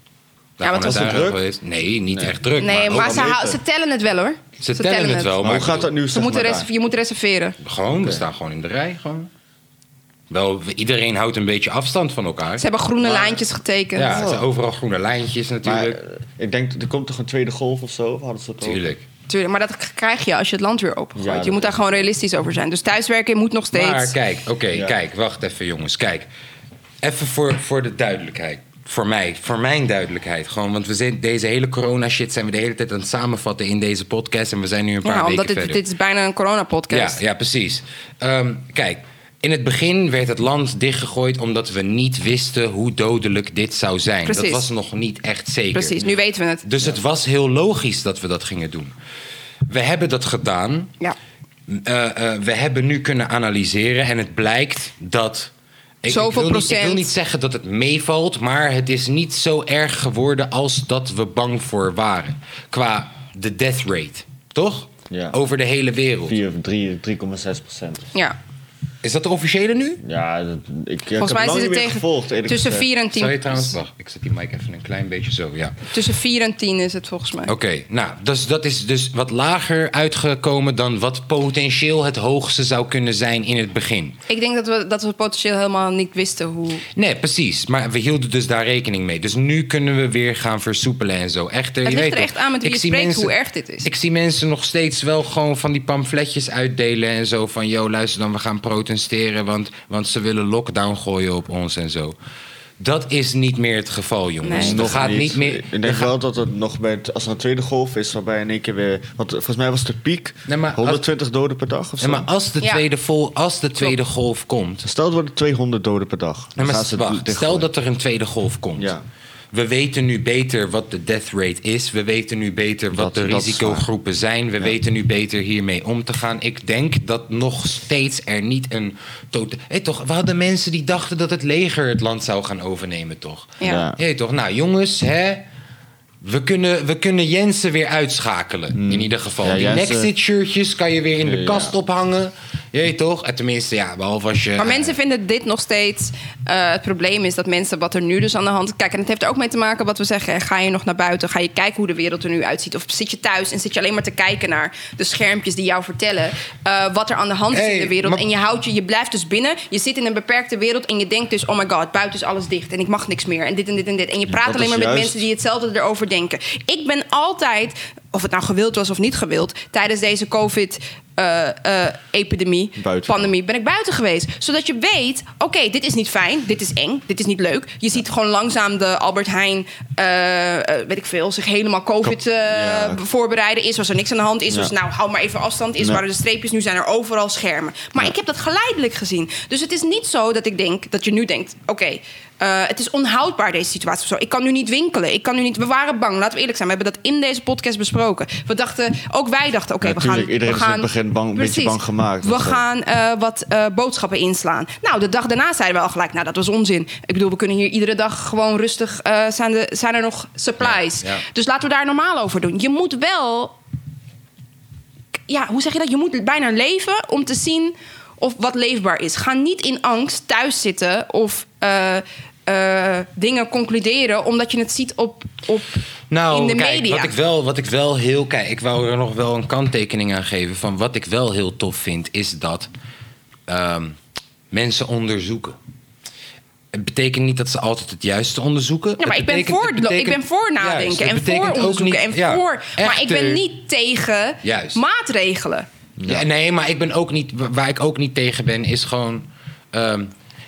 B: Ja, maar het
A: Gewoon
B: was
A: naar
C: het
A: Duinroo
C: druk?
A: Geweest. Nee, niet echt druk.
B: Nee,
A: maar,
B: maar
C: wel
B: ze,
C: beter.
B: hou- ze tellen het wel hoor.
A: ze tellen het wel.
C: Maar
A: Maar
C: hoe gaat dat nu?
B: Ze
C: zeg
B: moeten
C: maar, daar?
B: reserve- je moet reserveren.
A: Gewoon, we staan gewoon in de rij. Gewoon. Wel, we- iedereen houdt een beetje afstand van elkaar.
B: Ze hebben groene lijntjes getekend.
A: Ja, er zijn overal groene lijntjes
C: Maar
A: natuurlijk.
C: eh, ik denk, er komt toch een tweede golf of zo? Of Hadden ze het over?
A: Tuurlijk.
B: Tuurlijk, maar dat k- krijg je als je het land weer opengooit.
C: Ja,
B: je
C: dat
B: moet daar
C: is-
B: gewoon realistisch over zijn. Dus thuiswerken moet nog steeds.
A: Maar kijk, oké,
C: Ja.
A: kijk, wacht even jongens, kijk. Even voor, voor de duidelijkheid. Voor mij, voor mijn duidelijkheid. Gewoon, want we zijn, deze hele corona shit zijn we de hele tijd aan het samenvatten in deze podcast. En we zijn nu een paar
B: ja,
A: weken
B: omdat
A: verder.
B: dit, dit is bijna een
A: Ja,
B: coronapodcast.
A: ja, precies. Ehm, kijk, in het begin werd het land dichtgegooid omdat we niet wisten hoe dodelijk dit zou zijn. Dat
B: Precies.
A: was nog niet echt zeker.
B: Precies, nu weten we het.
A: Dus het was heel logisch dat we dat gingen doen. We hebben dat gedaan.
B: Ja.
A: Eh, eh, we hebben nu kunnen analyseren en het blijkt dat. Ik,
B: Zoveel
A: ik wil Niet, ik
B: procent.
A: wil niet zeggen dat het meevalt, maar het is niet zo erg geworden als dat we bang voor waren. Qua de death rate, toch?
C: Ja.
A: Over de hele wereld.
C: 4 of 3, 3,6 procent.
B: ja.
A: Is dat de officiële nu?
C: Ja, dat- ik, ik heb
B: Volgens mij
C: lang
B: is
C: niet
B: het
C: meer
B: tegen,
C: gevolgd, eerlijk
B: tussen,
C: gezegd.
B: 4 en 10,
D: Zou je trouwens... Wacht, ik zet die mic even een klein beetje zo, ja.
B: tussen 4 en 10 is het volgens mij.
A: Oké, nou, dus, dat is dus wat lager uitgekomen dan wat potentieel het hoogste zou kunnen zijn in het begin.
B: Ik denk dat we, dat we potentieel helemaal niet wisten hoe...
A: Nee, precies. Maar we hielden dus daar rekening mee. Dus nu kunnen we weer gaan versoepelen en zo. Echter,
B: Het
A: je
B: ligt
A: weet
B: er
A: toch,
B: echt aan met wie
A: ik
B: je
A: zie
B: spreekt
A: mensen-
B: hoe erg dit is.
A: Ik zie mensen nog steeds wel gewoon van die pamfletjes uitdelen en zo. Van, yo, luister dan, we gaan protesteren, want, want ze willen lockdown gooien op ons en zo. Dat is niet meer het geval, jongens.
B: Nee.
A: Er
C: Nog
A: gaat niet meer...
C: Ik denk wel dat het nog bij het, als er een tweede golf is, waarbij in één keer weer. Want volgens mij was de piek
A: Nee, maar als-
C: 120 doden per dag of zo.
A: Ja, maar als de
B: Ja.
A: tweede, vol, als de tweede golf komt...
C: Stel het worden 200 doden per dag.
A: Nee,
C: Dan
A: maar
C: gaan ze het
A: wacht,
C: dichtgooien.
A: stel dat er een tweede golf komt.
C: Ja.
A: We weten nu beter wat de death rate is. We weten nu beter wat
C: Dat-
A: de
C: dat is
A: risicogroepen zijn. We weten nu beter hiermee om te gaan. Ik denk dat nog steeds er niet een... tota- Hé, toch, we hadden mensen die dachten dat het leger het land zou gaan overnemen, toch?
B: Ja.
C: Ja.
A: Hé, toch, nou jongens, hè... We kunnen, we kunnen Jensen weer uitschakelen, in ieder geval.
C: Hmm. Ja,
A: die
C: Jensen-
A: Nexit-shirtjes kan je weer in de
C: Ja.
A: kast ophangen. Jeet toch? En tenminste, ja, behalve als je...
B: Maar mensen vinden dit nog steeds. eh, het probleem is dat mensen wat er nu dus aan de hand. Kijk, en het heeft er ook mee te maken wat we zeggen. eh, Ga je nog naar buiten? Ga je kijken hoe de wereld er nu uitziet? Of zit je thuis en zit je alleen maar te kijken naar de schermpjes die jou vertellen eh, wat er aan de hand is
A: Hey,
B: in de wereld?
A: maar-
B: En je houdt je, je blijft dus binnen. Je zit in een beperkte wereld en je denkt dus: oh my god, buiten is alles dicht en ik mag niks meer. En dit en dit en dit. En je praat
C: dat
B: alleen
C: is
B: maar met
C: juist-
B: mensen die hetzelfde erover denken. Ik ben altijd, of het nou gewild was of niet gewild, tijdens deze COVID-epidemie,
C: Buiten.
B: pandemie ben ik buiten geweest. Zodat je weet, oké, dit is niet fijn, dit is eng, dit is niet leuk. Je ziet gewoon langzaam de Albert Heijn, eh, eh, weet ik veel, zich helemaal COVID eh,
C: Ja.
B: voorbereiden. Is was er niks aan de hand, is
C: Ja.
B: was nou, hou maar even afstand, is
C: Ja.
B: waren de streepjes, nu zijn er overal schermen. Maar ik heb dat geleidelijk gezien. Dus het is niet zo dat ik denk, dat je nu denkt, oké, eh, het is onhoudbaar deze situatie of zo. Ik kan nu niet winkelen, ik kan nu niet, we waren bang, laten we eerlijk zijn. We hebben dat in deze podcast besproken. We dachten, ook wij dachten, oké,
C: Ja,
B: we
C: tuurlijk,
B: gaan...
C: iedereen
B: we
C: is in
B: gaan,
C: het begin bang- een beetje
B: Precies.
C: bang gemaakt.
B: We
C: Dat is-
B: gaan gaan eh, wat eh, boodschappen inslaan. Nou, de dag daarna zeiden we al gelijk, nou, dat was onzin. Ik bedoel, we kunnen hier iedere dag gewoon rustig... eh, zijn, de, zijn er nog supplies.
A: Ja, ja.
B: Dus laten we daar normaal over doen. Je moet wel... Ja, hoe zeg je dat? Je moet bijna leven om te zien of wat leefbaar is. Ga niet in angst thuis zitten of... eh, eh, dingen concluderen omdat je het ziet op, op
A: Nou,
B: in de
A: kijk,
B: media.
A: Wat ik, wel, wat ik wel heel... Kijk, ik wou er nog wel een kanttekening aan geven... van wat ik wel heel tof vind, is dat ehm, mensen onderzoeken. Het betekent niet dat ze altijd het juiste onderzoeken.
B: Ja, maar
A: Het
B: ik ben,
A: betekent-
B: voor,
A: het betekent-
B: ik ben voor
A: Juist, het
B: nadenken en
A: betekent
B: voor
A: ook
B: onderzoeken
A: niet-
B: en
A: ja,
B: voor... maar ik ben
A: echter-
B: niet tegen
A: Juist.
B: maatregelen.
A: Ja. nee, maar ik ben ook niet, wa- waar ik ook niet tegen ben, is gewoon ehm,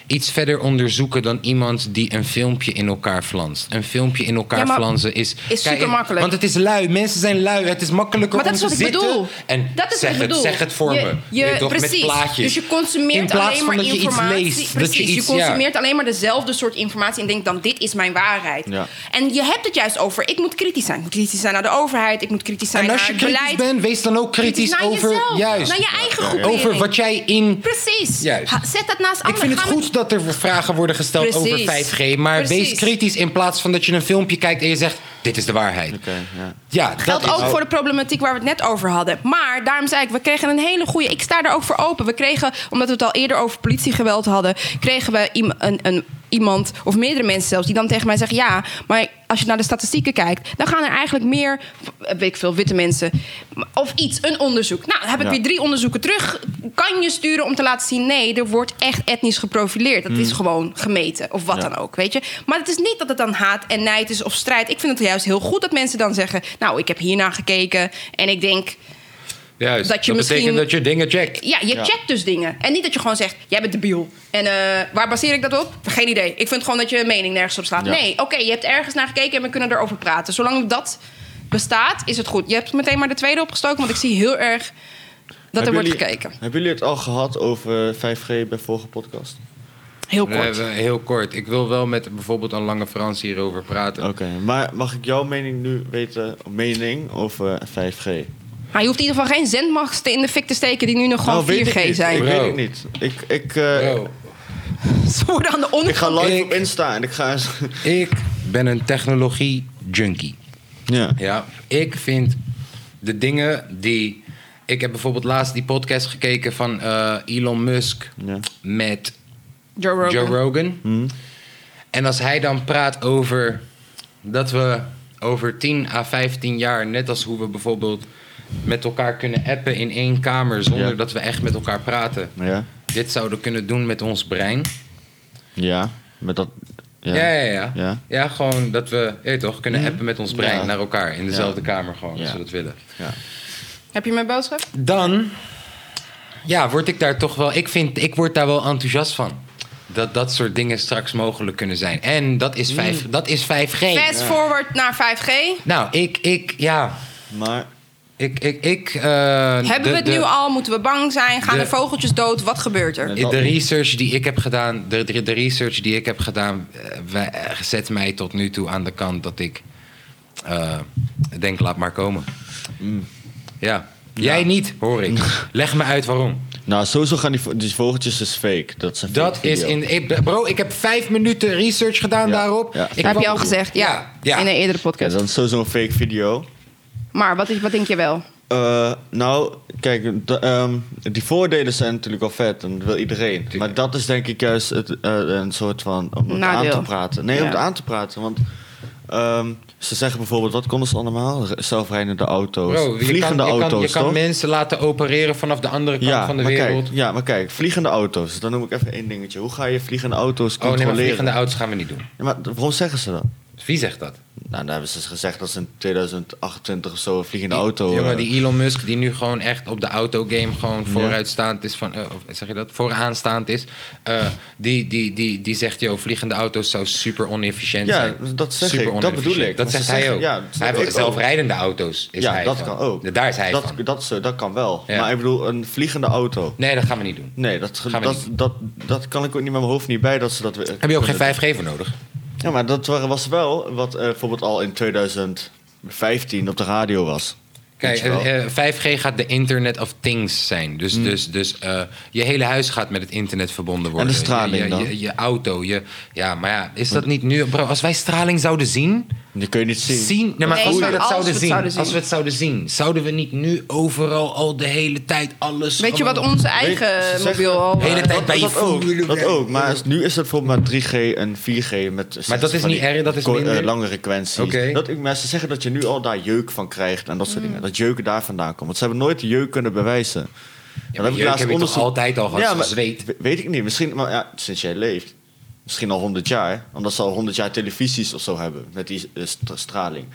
A: iets verder onderzoeken dan iemand die een filmpje in elkaar flanst. Een filmpje in elkaar
B: Ja, maar
A: flansen is.
B: is
A: Kijk,
B: supermakkelijk.
A: Want het is lui. Mensen zijn lui. Het is makkelijker
B: Maar dat
A: om
B: is
A: te
B: wat ik
A: zitten.
B: bedoel.
A: En
B: dat is
A: zeg,
B: wat ik
A: het,
B: bedoel.
A: zeg het voor
B: je,
A: me.
B: Je,
A: Weet je toch,
B: precies.
A: met plaatjes.
B: Dus je consumeert
A: in plaats
B: alleen maar
A: van dat je
B: informatie.
A: Iets leest,
B: precies.
A: dat je, iets, ja.
B: consumeert alleen maar dezelfde soort informatie en denkt dan dit is mijn waarheid.
C: Ja.
B: En je hebt het juist over. Ik moet kritisch zijn. Ik moet kritisch zijn naar de overheid. Ik moet kritisch zijn
A: En als je
B: naar
A: kritisch
B: beleid.
A: bent, wees dan ook kritisch,
B: naar
A: over
B: jezelf,
A: juist
B: naar je eigen groepering.
A: over wat jij in
B: Precies.
A: Juist.
B: Ha, zet dat naast
A: Ik
B: anderen.
A: vind het
B: Ga met-
A: goed dat er vragen worden gesteld
B: Precies.
A: over 5G. Maar
B: Precies.
A: wees kritisch in plaats van dat je een filmpje kijkt en je zegt: Dit is de waarheid.
C: Oké, ja.
A: Ja, dat
B: geldt
A: is
B: ook voor de problematiek waar we het net over hadden. Maar daarom zei ik, we kregen een hele goede. Ik sta er ook voor open. We kregen, omdat we het al eerder over politiegeweld hadden, kregen we iem- een. een Iemand of meerdere mensen zelfs die dan tegen mij zeggen: Ja, maar als je naar de statistieken kijkt, dan gaan er eigenlijk meer, eh, weet ik veel, witte mensen of iets, een onderzoek. Nou, dan heb ik
C: Ja.
B: weer drie onderzoeken terug. Kan je sturen om te laten zien: nee, er wordt echt etnisch geprofileerd. Dat is gewoon gemeten of wat
C: Mm. Ja.
B: dan ook, weet je. Maar het is niet dat het dan haat en nijd is of strijd. Ik vind het juist heel goed dat mensen dan zeggen... nou, ik heb hiernaar gekeken en ik denk...
A: Juist,
B: dat je misschien-
A: betekent dat je dingen checkt.
B: ja, je
C: Ja.
B: checkt dus dingen. En niet dat je gewoon zegt, jij bent debiel. En eh, waar baseer ik dat op? Geen idee. Ik vind gewoon dat je mening nergens op slaat.
C: Ja.
B: Nee, oké, je hebt ergens naar gekeken en we kunnen erover praten. Zolang dat bestaat, is het goed. Je hebt meteen maar de tweede opgestoken... want ik zie heel erg dat er
C: Hebben
B: wordt
C: jullie-
B: gekeken.
C: Hebben jullie het al gehad over 5G bij vorige podcast?
B: Heel
D: We
B: kort.
D: hebben heel kort. Ik wil wel met bijvoorbeeld een lange Frans hierover praten.
C: Oké, maar mag ik jouw mening nu weten? Mening over 5G?
B: Maar je hoeft in ieder geval geen zendmachten in de fik te steken... die nu nog gewoon
C: Nou, weet ik
B: 4G
C: niet.
B: zijn.
C: Ik
A: Bro.
C: weet het niet. Ik, ik, eh,
D: Bro,
B: Ze worden aan de
C: ik ga
B: onderkant.
C: live
A: Ik-
C: op Insta en ik ga...
A: Ik ben een technologie junkie.
C: ja.
A: Ja, ik vind de dingen die. ik heb bijvoorbeeld laatst die podcast gekeken van eh, Elon Musk
C: Ja.
A: met
B: Joe Rogan.
A: Joe Rogan.
C: Hmm.
A: En als hij dan praat over dat we over 10 à 15 jaar, net als hoe we bijvoorbeeld met elkaar kunnen appen in één kamer zonder
C: Ja.
A: dat we echt met elkaar praten.
C: Ja.
A: Dit zouden kunnen doen met ons brein.
C: Ja. Met dat. Ja.
A: Ja, ja, ja.
C: Ja. Hmm.
A: Ja, gewoon dat we, je weet toch, kunnen appen met ons brein
C: Ja.
A: naar elkaar in dezelfde kamer gewoon, als
C: Ja.
A: we dat willen.
B: Heb je mijn boodschap?
A: Dan, ja, word ik daar toch wel, ik vind, ik word daar wel enthousiast van. Dat dat soort dingen straks mogelijk kunnen zijn. En dat is, 5,
C: Hmm.
A: dat is 5G.
B: Fast forward naar 5G.
A: Nou, ik, ik, ja,
C: Maar.
A: ik, ik, ik... eh,
B: Hebben
A: de-
B: we het
A: de-
B: nu al? Moeten we bang zijn? Gaan
A: de-
B: de, vogeltjes dood? Wat gebeurt er?
C: Oh.
A: De research die ik heb gedaan, de, de, de research die ik heb gedaan, eh, wij- eh, zet mij tot nu toe aan de kant dat ik eh, denk, laat maar komen.
C: Mm.
A: Ja. Jij niet, hoor ik. Leg me uit waarom.
C: Nou, sowieso gaan die, vo- die vogeltjes is fake. Dat is een
A: Dat
C: fake
A: is
C: video.
A: in. ik- Bro, ik heb vijf minuten research gedaan
C: Ja,
A: daarop.
C: ja.
A: Ik
C: Heb
B: heb
A: kwam-
B: je al gezegd, ja.
A: Ja.
B: In een eerdere
C: Ja,
B: podcast.
C: dat is sowieso een fake video.
B: Maar wat, is, wat denk je wel?
C: Eh, nou, kijk, d- ehm, die voordelen zijn natuurlijk al vet en dat wil iedereen. Maar dat is denk ik juist het, eh, een soort van. om het
B: Nadeel.
C: aan te praten. Nee, om
B: Ja.
C: het aan te praten. Want ehm, ze zeggen bijvoorbeeld: wat konden ze allemaal? R- Zelfrijdende auto's,
A: Bro, je
C: vliegende
A: kan, je
C: auto's.
A: Kan, je kan
C: toch?
A: mensen laten opereren vanaf de andere kant van de
C: maar
A: wereld. Oh,
C: Kijk, ja, maar kijk, vliegende auto's. Dan noem ik even één dingetje. Hoe ga je vliegende auto's
A: oh nee,
C: controleren?
A: maar vliegende auto's gaan we niet doen.
C: Ja, maar d- waarom zeggen ze dat?
A: Wie zegt dat?
C: Nou, dan hebben ze gezegd dat ze in 2028 of zo een vliegende auto...
A: Jongen,
C: eh,
A: die Elon Musk die nu gewoon echt op de autogame gewoon vooruitstaand is van, eh, of zeg je dat? Vooraanstaand is. eh, die, die, die, die zegt, joh, vliegende auto's zou super onefficiënt
C: Ja,
A: zijn.
C: dat zeg
A: Super
C: ik, dat
A: onefficiënt.
C: bedoel ik.
A: Dat
C: Maar
A: zegt
C: ze
A: hij
C: zeggen-
A: ook.
C: ja, dat
A: hij
C: zeg
A: wil
C: ik
A: zelfrijdende auto's. Is
C: ja,
A: hij
C: dat
A: van.
C: kan ook.
A: Daar is hij
C: dat,
A: van.
C: Dat, zo, dat kan wel.
A: Ja.
C: Maar ik bedoel, een vliegende auto...
A: Nee, dat gaan we niet doen.
C: Nee, dat, ge-
A: Gaan we
C: dat, dat, dat kan ik ook niet met mijn hoofd niet bij dat ze dat...
A: Heb je ook geen 5G voor nodig?
C: Ja, maar dat wa- was wel wat eh, bijvoorbeeld al in 2015 op de radio was.
A: Kijk,
C: Weet je wel? Hmm.
A: eh, eh, 5G gaat de Internet of Things zijn. Dus, dus, dus eh, je hele huis gaat met het internet verbonden worden.
C: de straling
A: je, je,
C: dan?
A: Je, je auto. Je, ja, maar ja, is dat niet nu... Bro, als wij straling zouden zien...
C: Die kun je niet zien.
A: zien. Nee, maar
B: Nee,
A: als
B: maar
A: we dat
B: als
A: zouden
B: we het
A: zien,
B: zouden zien.
A: als we het zouden zien, zouden we niet nu overal al de hele tijd alles.
B: Weet je wat
A: gewoon-
B: onze
C: Weet- ze
B: eigen
C: zeggen-
B: mobiel al...
A: De hele
B: eh,
A: tijd bij je
C: dat ook,
A: voelen.
C: dat ook. Maar is- nu is het bijvoorbeeld maar 3G en 4G. Met
A: Maar dat is
C: van die
A: niet erg, dat is
C: ko- eh,
A: minder.
C: lange frequenties.
A: Oké.
C: Dat, maar ze zeggen dat je nu al daar jeuk van krijgt en dat soort dingen. Dat jeuken daar vandaan komt. Want ze hebben nooit de jeuk kunnen bewijzen.
A: Ja, maar jeuk heb je toch altijd al gehad,
C: maar
A: zweet.
C: we- Weet ik niet. Misschien maar ja, sinds jij leeft. Misschien al 100 jaar. Omdat ze al 100 jaar televisies of zo hebben. Met die eh, st- straling.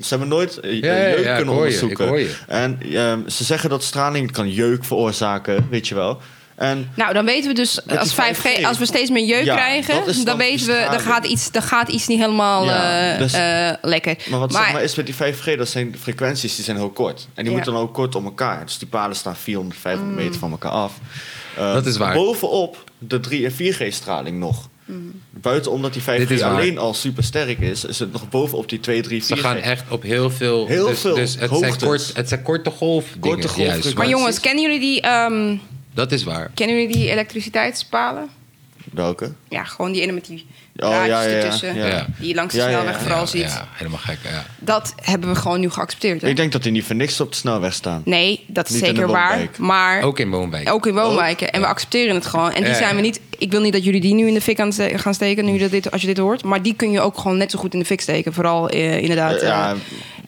C: Ze hebben nooit eh,
A: Ja, ja,
C: jeuk
A: ja, ik
C: kunnen
A: hoor je, ik
C: onderzoeken.
A: hoor je.
C: En ehm, ze zeggen dat straling kan jeuk veroorzaken, weet je wel. En
B: Nou, dan weten we dus
C: Met die
B: als 5G,
C: 5G.
B: als we steeds meer jeuk
C: Ja, dat is
B: krijgen,
C: dan
B: dan
C: die
B: weten we, er
C: straling.
B: gaat iets, er gaat iets niet helemaal
C: Ja,
B: eh,
C: dus-
B: eh, lekker.
C: Maar wat zeg maar is met die 5G, dat zijn frequenties die zijn heel kort. En die
B: Ja.
C: moeten dan ook kort om elkaar. Dus die palen staan 400, 500 meter van elkaar af. Eh,
A: Dat is waar.
C: Bovenop de 3 en 4G-straling nog. Buiten omdat die 5G
A: Dit is waar.
C: alleen al super sterk is, is het nog bovenop die 2, 3,
A: Ze
C: 4G.
A: gaan echt op heel veel.
C: Heel
A: dus,
C: veel
A: Dus het zijn,
C: hoogtes.
A: kort, het zijn korte golf.
C: Korte
A: dingen,
C: golf-
A: juist.
B: maar
C: precies.
B: jongens, kennen jullie die, ehm,
A: Dat is waar.
B: kennen jullie die elektriciteitspalen?
C: Welke?
B: Ja, gewoon die ene met die
C: Oh,
B: draadjes
C: ja, ja, ja,
B: ertussen.
A: ja.
B: Die langs de
C: Ja, ja,
B: snelweg
C: ja.
B: vooral
A: ja,
B: ziet.
A: ja, helemaal gek. Ja.
B: Dat hebben we gewoon nu geaccepteerd. hè?
C: Ik denk dat die niet voor niks op de snelweg staan.
B: Nee, dat is
C: Niet in
B: zeker
C: de
B: waar.
C: woonwijk.
B: Maar ook,
A: Ook in Woonwijk.
B: in woonwijken. En we accepteren het gewoon. En die
A: Ja,
B: zijn we
A: ja.
B: niet. Ik wil niet dat jullie die nu in de fik aan ste- gaan steken. Nu dat dit, als je dit hoort. Maar die kun je ook gewoon net zo goed in de fik steken. Vooral eh, inderdaad.
C: Eh, ja.
B: eh.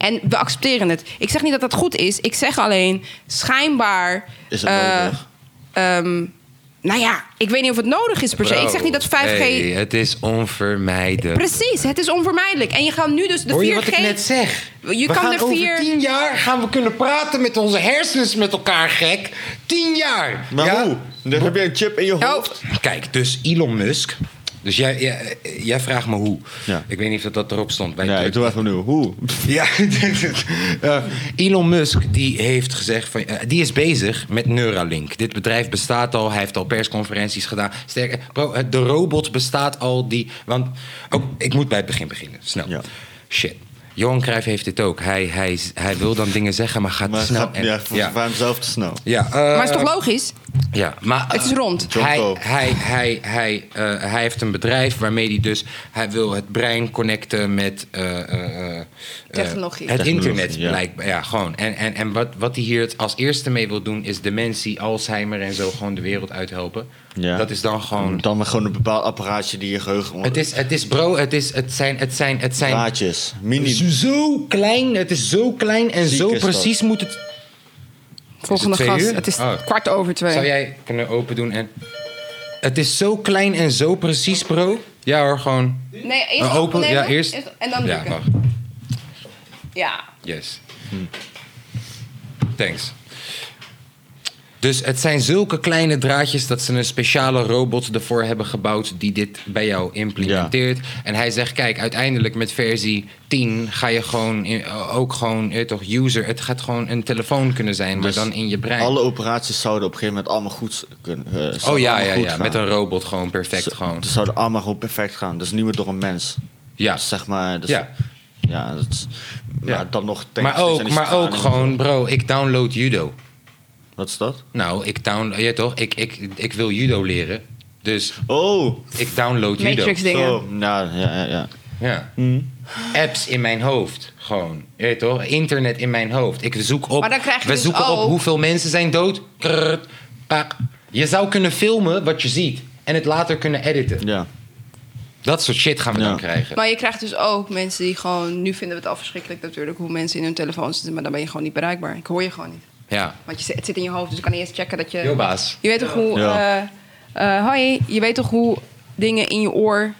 B: en we accepteren het. Ik zeg niet dat dat goed is. Ik zeg alleen schijnbaar.
C: Is het
B: eh,
C: nodig?
B: ehm, nou ja, ik weet niet of het nodig is per se. Ik zeg niet dat 5G.
A: Nee, het is onvermijdelijk.
B: Precies, het is onvermijdelijk. En je gaat nu dus de
A: Hoor
B: 4G.
A: je wat ik net zeg?
B: Je
A: we
B: kan
A: gaan
B: de vier-
A: over tien jaar gaan we kunnen praten met onze hersens met elkaar, gek. Tien jaar.
C: Maar
A: ja?
C: hoe? Dan heb je een chip in je
B: Oh,
C: hoofd.
A: Kijk, dus Elon Musk. Dus jij, jij, jij vraagt me hoe.
C: Ja.
A: Ik weet niet of dat, dat erop stond. Bij
C: Nee, ik
A: Druk.
C: doe even nu. Hoe?
A: Ja, eh, Elon Musk die heeft gezegd van, eh, die is bezig met Neuralink. Dit bedrijf bestaat al, hij heeft al persconferenties gedaan. Sterker, bro, eh, de robot bestaat al die, want ook ik moet bij het begin beginnen, snel.
C: Ja.
A: Shit. Johan Cruijff heeft dit ook. Hij, hij, hij wil dan dingen zeggen, maar gaat
C: Maar
A: te snel.
C: snap,
A: en-
C: ja, voor
A: ja.
C: voor hemzelf te snel.
A: Ja, eh,
B: Maar is toch logisch?
A: Ja, maar,
B: Het is
A: eh,
B: rond.
A: Hij,
C: Jonko.
A: hij, hij, hij, eh, hij heeft een bedrijf waarmee hij dus... Hij wil het brein connecten met... eh, eh, eh,
B: Technologie.
A: Het
C: Technologie,
A: internet,
C: ja.
A: blijkbaar. Ja, gewoon. En, en, en wat, wat hij hier als eerste mee wil doen... is dementie, Alzheimer en zo gewoon de wereld uithelpen.
C: Ja.
A: Dat is dan gewoon...
C: Dan maar gewoon een bepaald apparaatje die je geheugen...
A: Het is, het is bro, het, is, het zijn... Het zijn, het zijn
C: Draadjes. Mini...
A: zo- zo klein, het is zo klein en
C: Ziek
A: zo
C: is dat.
A: precies moet het...
B: Volgende
A: twee
B: gast.
A: uur?
B: Het is
A: Oh.
B: kwart over twee.
A: Zou jij kunnen open doen en... Het is zo klein en zo precies, bro. Ja hoor, gewoon...
B: Nee, eerst
A: Eh, open,
B: opnemen,
A: ja, eerst.
B: en dan
A: Ja,
B: drukken.
A: mag.
B: Ja.
A: Yes. Hm. Thanks. Dus het zijn zulke kleine draadjes dat ze een speciale robot ervoor hebben gebouwd die dit bij jou implementeert. En hij zegt: kijk, uiteindelijk met versie 10 ga je gewoon in- ook gewoon eh, toch user. Het gaat gewoon een telefoon kunnen zijn, maar
C: Dus
A: dan in je brein.
C: Alle operaties zouden op een gegeven moment allemaal goed kunnen... eh, zouden
A: oh ja,
C: allemaal
A: ja,
C: goed
A: ja.
C: gaan.
A: Met een robot gewoon perfect
C: Ze-
A: gewoon.
C: Ze zouden allemaal gewoon perfect gaan. Dus niet meer door een mens.
A: Ja.
C: Dus zeg maar... Dus,
A: Ja.
C: Ja, dat is- maar
A: Ja.
C: dan nog... denk ik
A: Maar
C: steeds aan
A: ook,
C: die
A: maar ook
C: straling.
A: gewoon, bro, ik download judo.
C: Wat is dat?
A: Nou, ik download, ja toch? Ik, ik, ik wil judo leren. Dus
C: Oh!
A: Ik download judo.
B: Matrix dingen.
C: Zo. Nou, ja, ja, ja.
A: Ja. Apps in mijn hoofd. Gewoon. Je weet toch? Internet in mijn hoofd. Ik zoek op.
B: Maar dan krijg je
A: we
B: dus
A: zoeken
B: ook-
A: op hoeveel mensen zijn dood. Krrrt, pak. Je zou kunnen filmen wat je ziet. En het later kunnen editen.
C: Ja.
A: Dat soort shit gaan we
C: Ja.
A: dan krijgen.
B: Maar je krijgt dus ook mensen die gewoon... Nu vinden we het al verschrikkelijk natuurlijk hoe mensen in hun telefoon zitten. Maar dan ben je gewoon niet bereikbaar. Ik hoor je gewoon niet.
A: Ja.
B: Want je, zit- het zit in je hoofd. Dus ik kan eerst checken dat je...
A: Yo, baas.
B: Je weet toch hoe...
C: Ja.
B: eh, eh, hoi, je weet toch hoe dingen in je oor...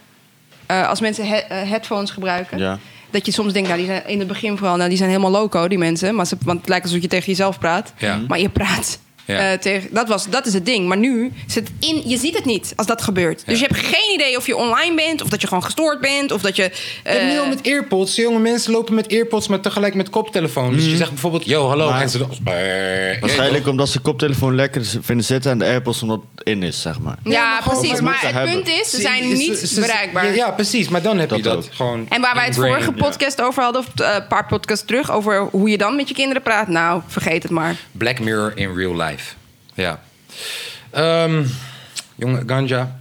B: eh, als mensen he- eh, headphones gebruiken...
C: Ja.
B: Dat je soms denkt, nou, die zijn in het begin vooral... Nou, die zijn helemaal loco, die mensen. Maar ze, want het lijkt alsof je tegen jezelf praat.
C: Mhm.
A: Ja.
B: Maar je praat.
A: Ja.
B: eh, tegen, dat, was, dat is het ding. Maar nu zit het in, je ziet het niet als dat gebeurt. Dus je hebt geen idee of je online bent, of dat je gewoon gestoord bent, of dat je. eh,
A: en Neil met earpods. Jonge mensen lopen met earpods, maar tegelijk met koptelefoon. Dus je zegt bijvoorbeeld, yo, hallo.
C: Maar-
A: en ze dan- Brrr.
C: Waarschijnlijk omdat ze koptelefoon lekker z- vinden zitten en de AirPods omdat het in is, zeg maar.
B: ja,
A: maar gewoon,
B: precies.
C: maar
B: Maar
C: moeten
B: het
C: hebben.
B: punt is, ze
A: Zie,
B: zijn
A: dus
B: niet
A: ze- ze-
B: bereikbaar.
A: Ja, ja, precies. Maar dan heb
C: Dat
A: je dat.
C: ook.
A: Gewoon
B: En waar wij het
A: ingrained.
B: vorige podcast over hadden, of eh, een paar podcasts terug, over hoe je dan met je kinderen praat. Nou, vergeet het maar.
A: Black Mirror in real life. Ja. Ehm jonge Ganja.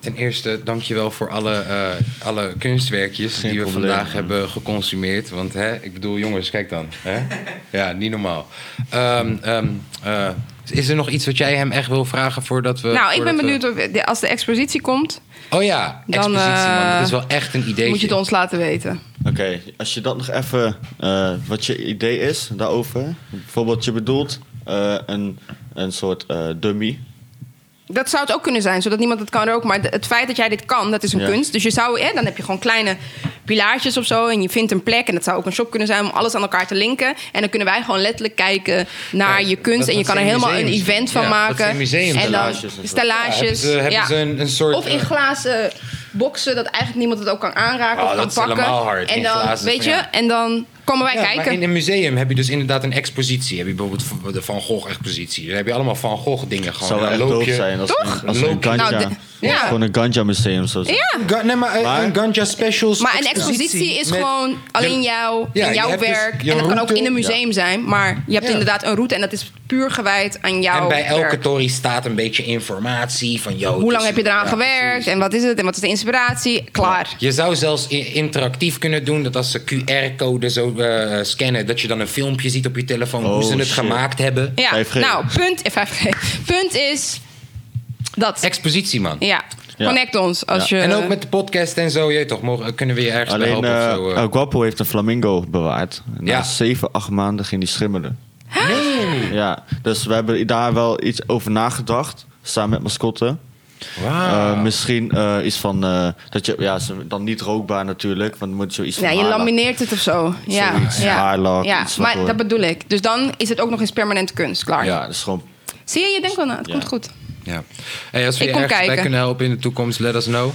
A: Ten eerste, dankjewel voor alle, eh, alle kunstwerkjes
C: Geen
A: die we
C: probleem.
A: vandaag hebben geconsumeerd. Want hè, ik bedoel, jongens, kijk dan. Hè? Ja, niet normaal. Ehm, ehm, eh, is er nog iets wat jij hem echt wil vragen voordat we...
B: nou, ik ben
A: Eh, voordat we-
B: benieuwd of de- als de expositie komt,
A: Oh ja,
B: Dan,
A: expositie, man. Dat
B: eh,
A: is wel echt een idee.
B: moet je het ons laten weten.
C: Oké, als je dat nog even, eh, wat je idee is daarover. Bijvoorbeeld, je bedoelt eh, een, een soort eh, dummy.
B: Dat zou het ook kunnen zijn, zodat niemand het kan roken. Maar de- het feit dat jij dit kan, dat is een
C: Ja.
B: kunst. Dus je zou, hè, dan heb je gewoon kleine pilaartjes of zo. En je vindt een plek. En dat zou ook een shop kunnen zijn om alles aan elkaar te linken. En dan kunnen wij gewoon letterlijk kijken naar
A: Ja,
B: je kunst.
A: dat-
B: En je
A: dat
B: kan
A: zijn
B: er helemaal een
A: museums.
B: event van
A: Ja, dat
B: maken.
A: zijn museums.
B: en dan
C: Stellages en zo.
B: stellages.
A: Ja, hebben ze- hebben ze een- een soort,
B: of in
A: eh,
B: glazen boksen, dat eigenlijk niemand het ook kan aanraken
A: Oh,
B: of kan
A: dat is
B: pakken.
A: helemaal hard,
B: En
A: in
B: dan,
A: glazen,
B: weet je,
A: ja.
B: en dan komen wij
A: Ja, maar
B: kijken.
A: in een museum heb je dus inderdaad een expositie. Heb je bijvoorbeeld de Van Gogh expositie. Daar heb je allemaal Van Gogh dingen gewoon.
C: zou
A: Dan
C: echt
A: loop
C: doof
A: je-
C: zijn als,
B: Toch?
C: een, als een
A: Loop je-
C: ganja.
B: Nou, de- ja.
C: Gewoon een ganja museum zo.
B: ja.
A: Ga- nee, maar, eh,
C: Maar-
A: een ganja specials.
B: Maar een expositie is
A: met-
B: gewoon alleen jou
A: Ja,
B: en
A: je
B: jouw
A: hebt dus
B: werk.
A: je
B: en dat kan ook
A: route.
B: in een museum zijn. Maar je hebt
A: Ja.
B: inderdaad een route en dat is puur gewijd aan jouw
A: En bij elke
B: werk.
A: tory staat een beetje informatie van dus jou.
B: Hoe lang heb je eraan gewerkt en wat is het en wat is de inspiratie? Klaar.
A: Je zou zelfs i- interactief kunnen doen dat als ze QR-code zo eh, scannen, dat je dan een filmpje ziet op je telefoon hoe
C: Oh,
A: ze het
C: shit.
A: gemaakt hebben.
B: Ja,
C: 5G.
B: nou, punt, eh, 5G. punt is dat.
A: Expositie, man.
B: Ja,
C: Ja.
B: connect ons als
C: Ja.
B: je...
A: En ook met de podcast en zo, je toch, mogen, kunnen we je ergens bij
C: Alleen
A: helpen
C: eh
A: of zo. eh.
C: El Guapo heeft een flamingo bewaard. Na
A: Ja.
C: 7, 8 maanden ging die schimmelen. Nee. Ja, dus we hebben daar wel iets over nagedacht. Samen met mascotten.
A: Wauw.
C: Eh, misschien eh, iets van eh, dat je ja ze- dan niet rookbaar natuurlijk, want dan moet je iets
B: Ja,
C: van
B: je
C: haar laten-
B: lamineert het of zo. Ja,
C: Zoiets,
B: ja.
C: haarlak,
B: ja.
C: iets wat
B: maar
C: hoor.
B: dat bedoel ik. Dus dan is het ook nog eens permanente kunst. Klaar.
C: Ja, dat is gewoon.
B: Zie je, je denkt wel na, het
C: Ja.
B: komt goed.
A: Ja. Hey, als we
B: Ik
A: je
B: kom
A: ergens bij
B: kijken.
A: kunnen helpen in de toekomst, let us know.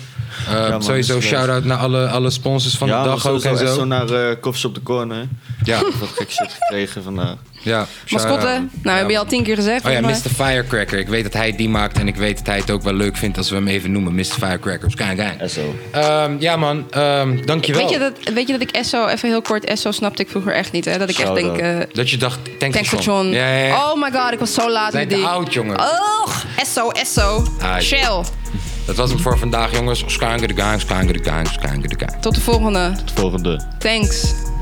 A: Eh,
C: man,
A: sowieso
C: dat is
A: shout-out naar alle, alle sponsors van
C: ja,
A: de dag
C: maar
A: ook
C: sowieso
A: en
C: echt zo
A: zo.
C: naar eh Koffs op de Corner.
A: Ja,
C: Ik heb wat gek shit gekregen eh, vandaag.
A: ja.
B: Mascotte,
A: shout-out.
B: nou, we hebben je al tien keer gezegd.
A: Oh ja, Mr.
B: volgens mij.
A: Firecracker. Ik weet dat hij het die maakt en ik weet dat hij het ook wel leuk vindt als we hem even noemen. Mr. Firecracker. Dus Kijk, kijk.
C: SO.
A: Ehm, ja man, Ehm dankjewel.
B: Weet je, dat, weet je dat ik Esso, even heel kort, Esso snapte ik vroeger echt niet. Hè? Dat ik echt
C: Shout-out.
B: denk, eh
A: Dat je dacht, thanks
B: Thanks
A: for
B: for John.
A: Ja, ja, ja.
B: Oh my god, ik was zo laat
A: Zijn
B: met die.
A: te oud, jongen.
B: Oh, Esso, Esso.
A: Ah,
B: Shell.
A: Dat was hem voor vandaag jongens. Skanger de gang, skanger de gang, skanger de gang.
B: Tot de volgende.
C: Het volgende.
B: Thanks.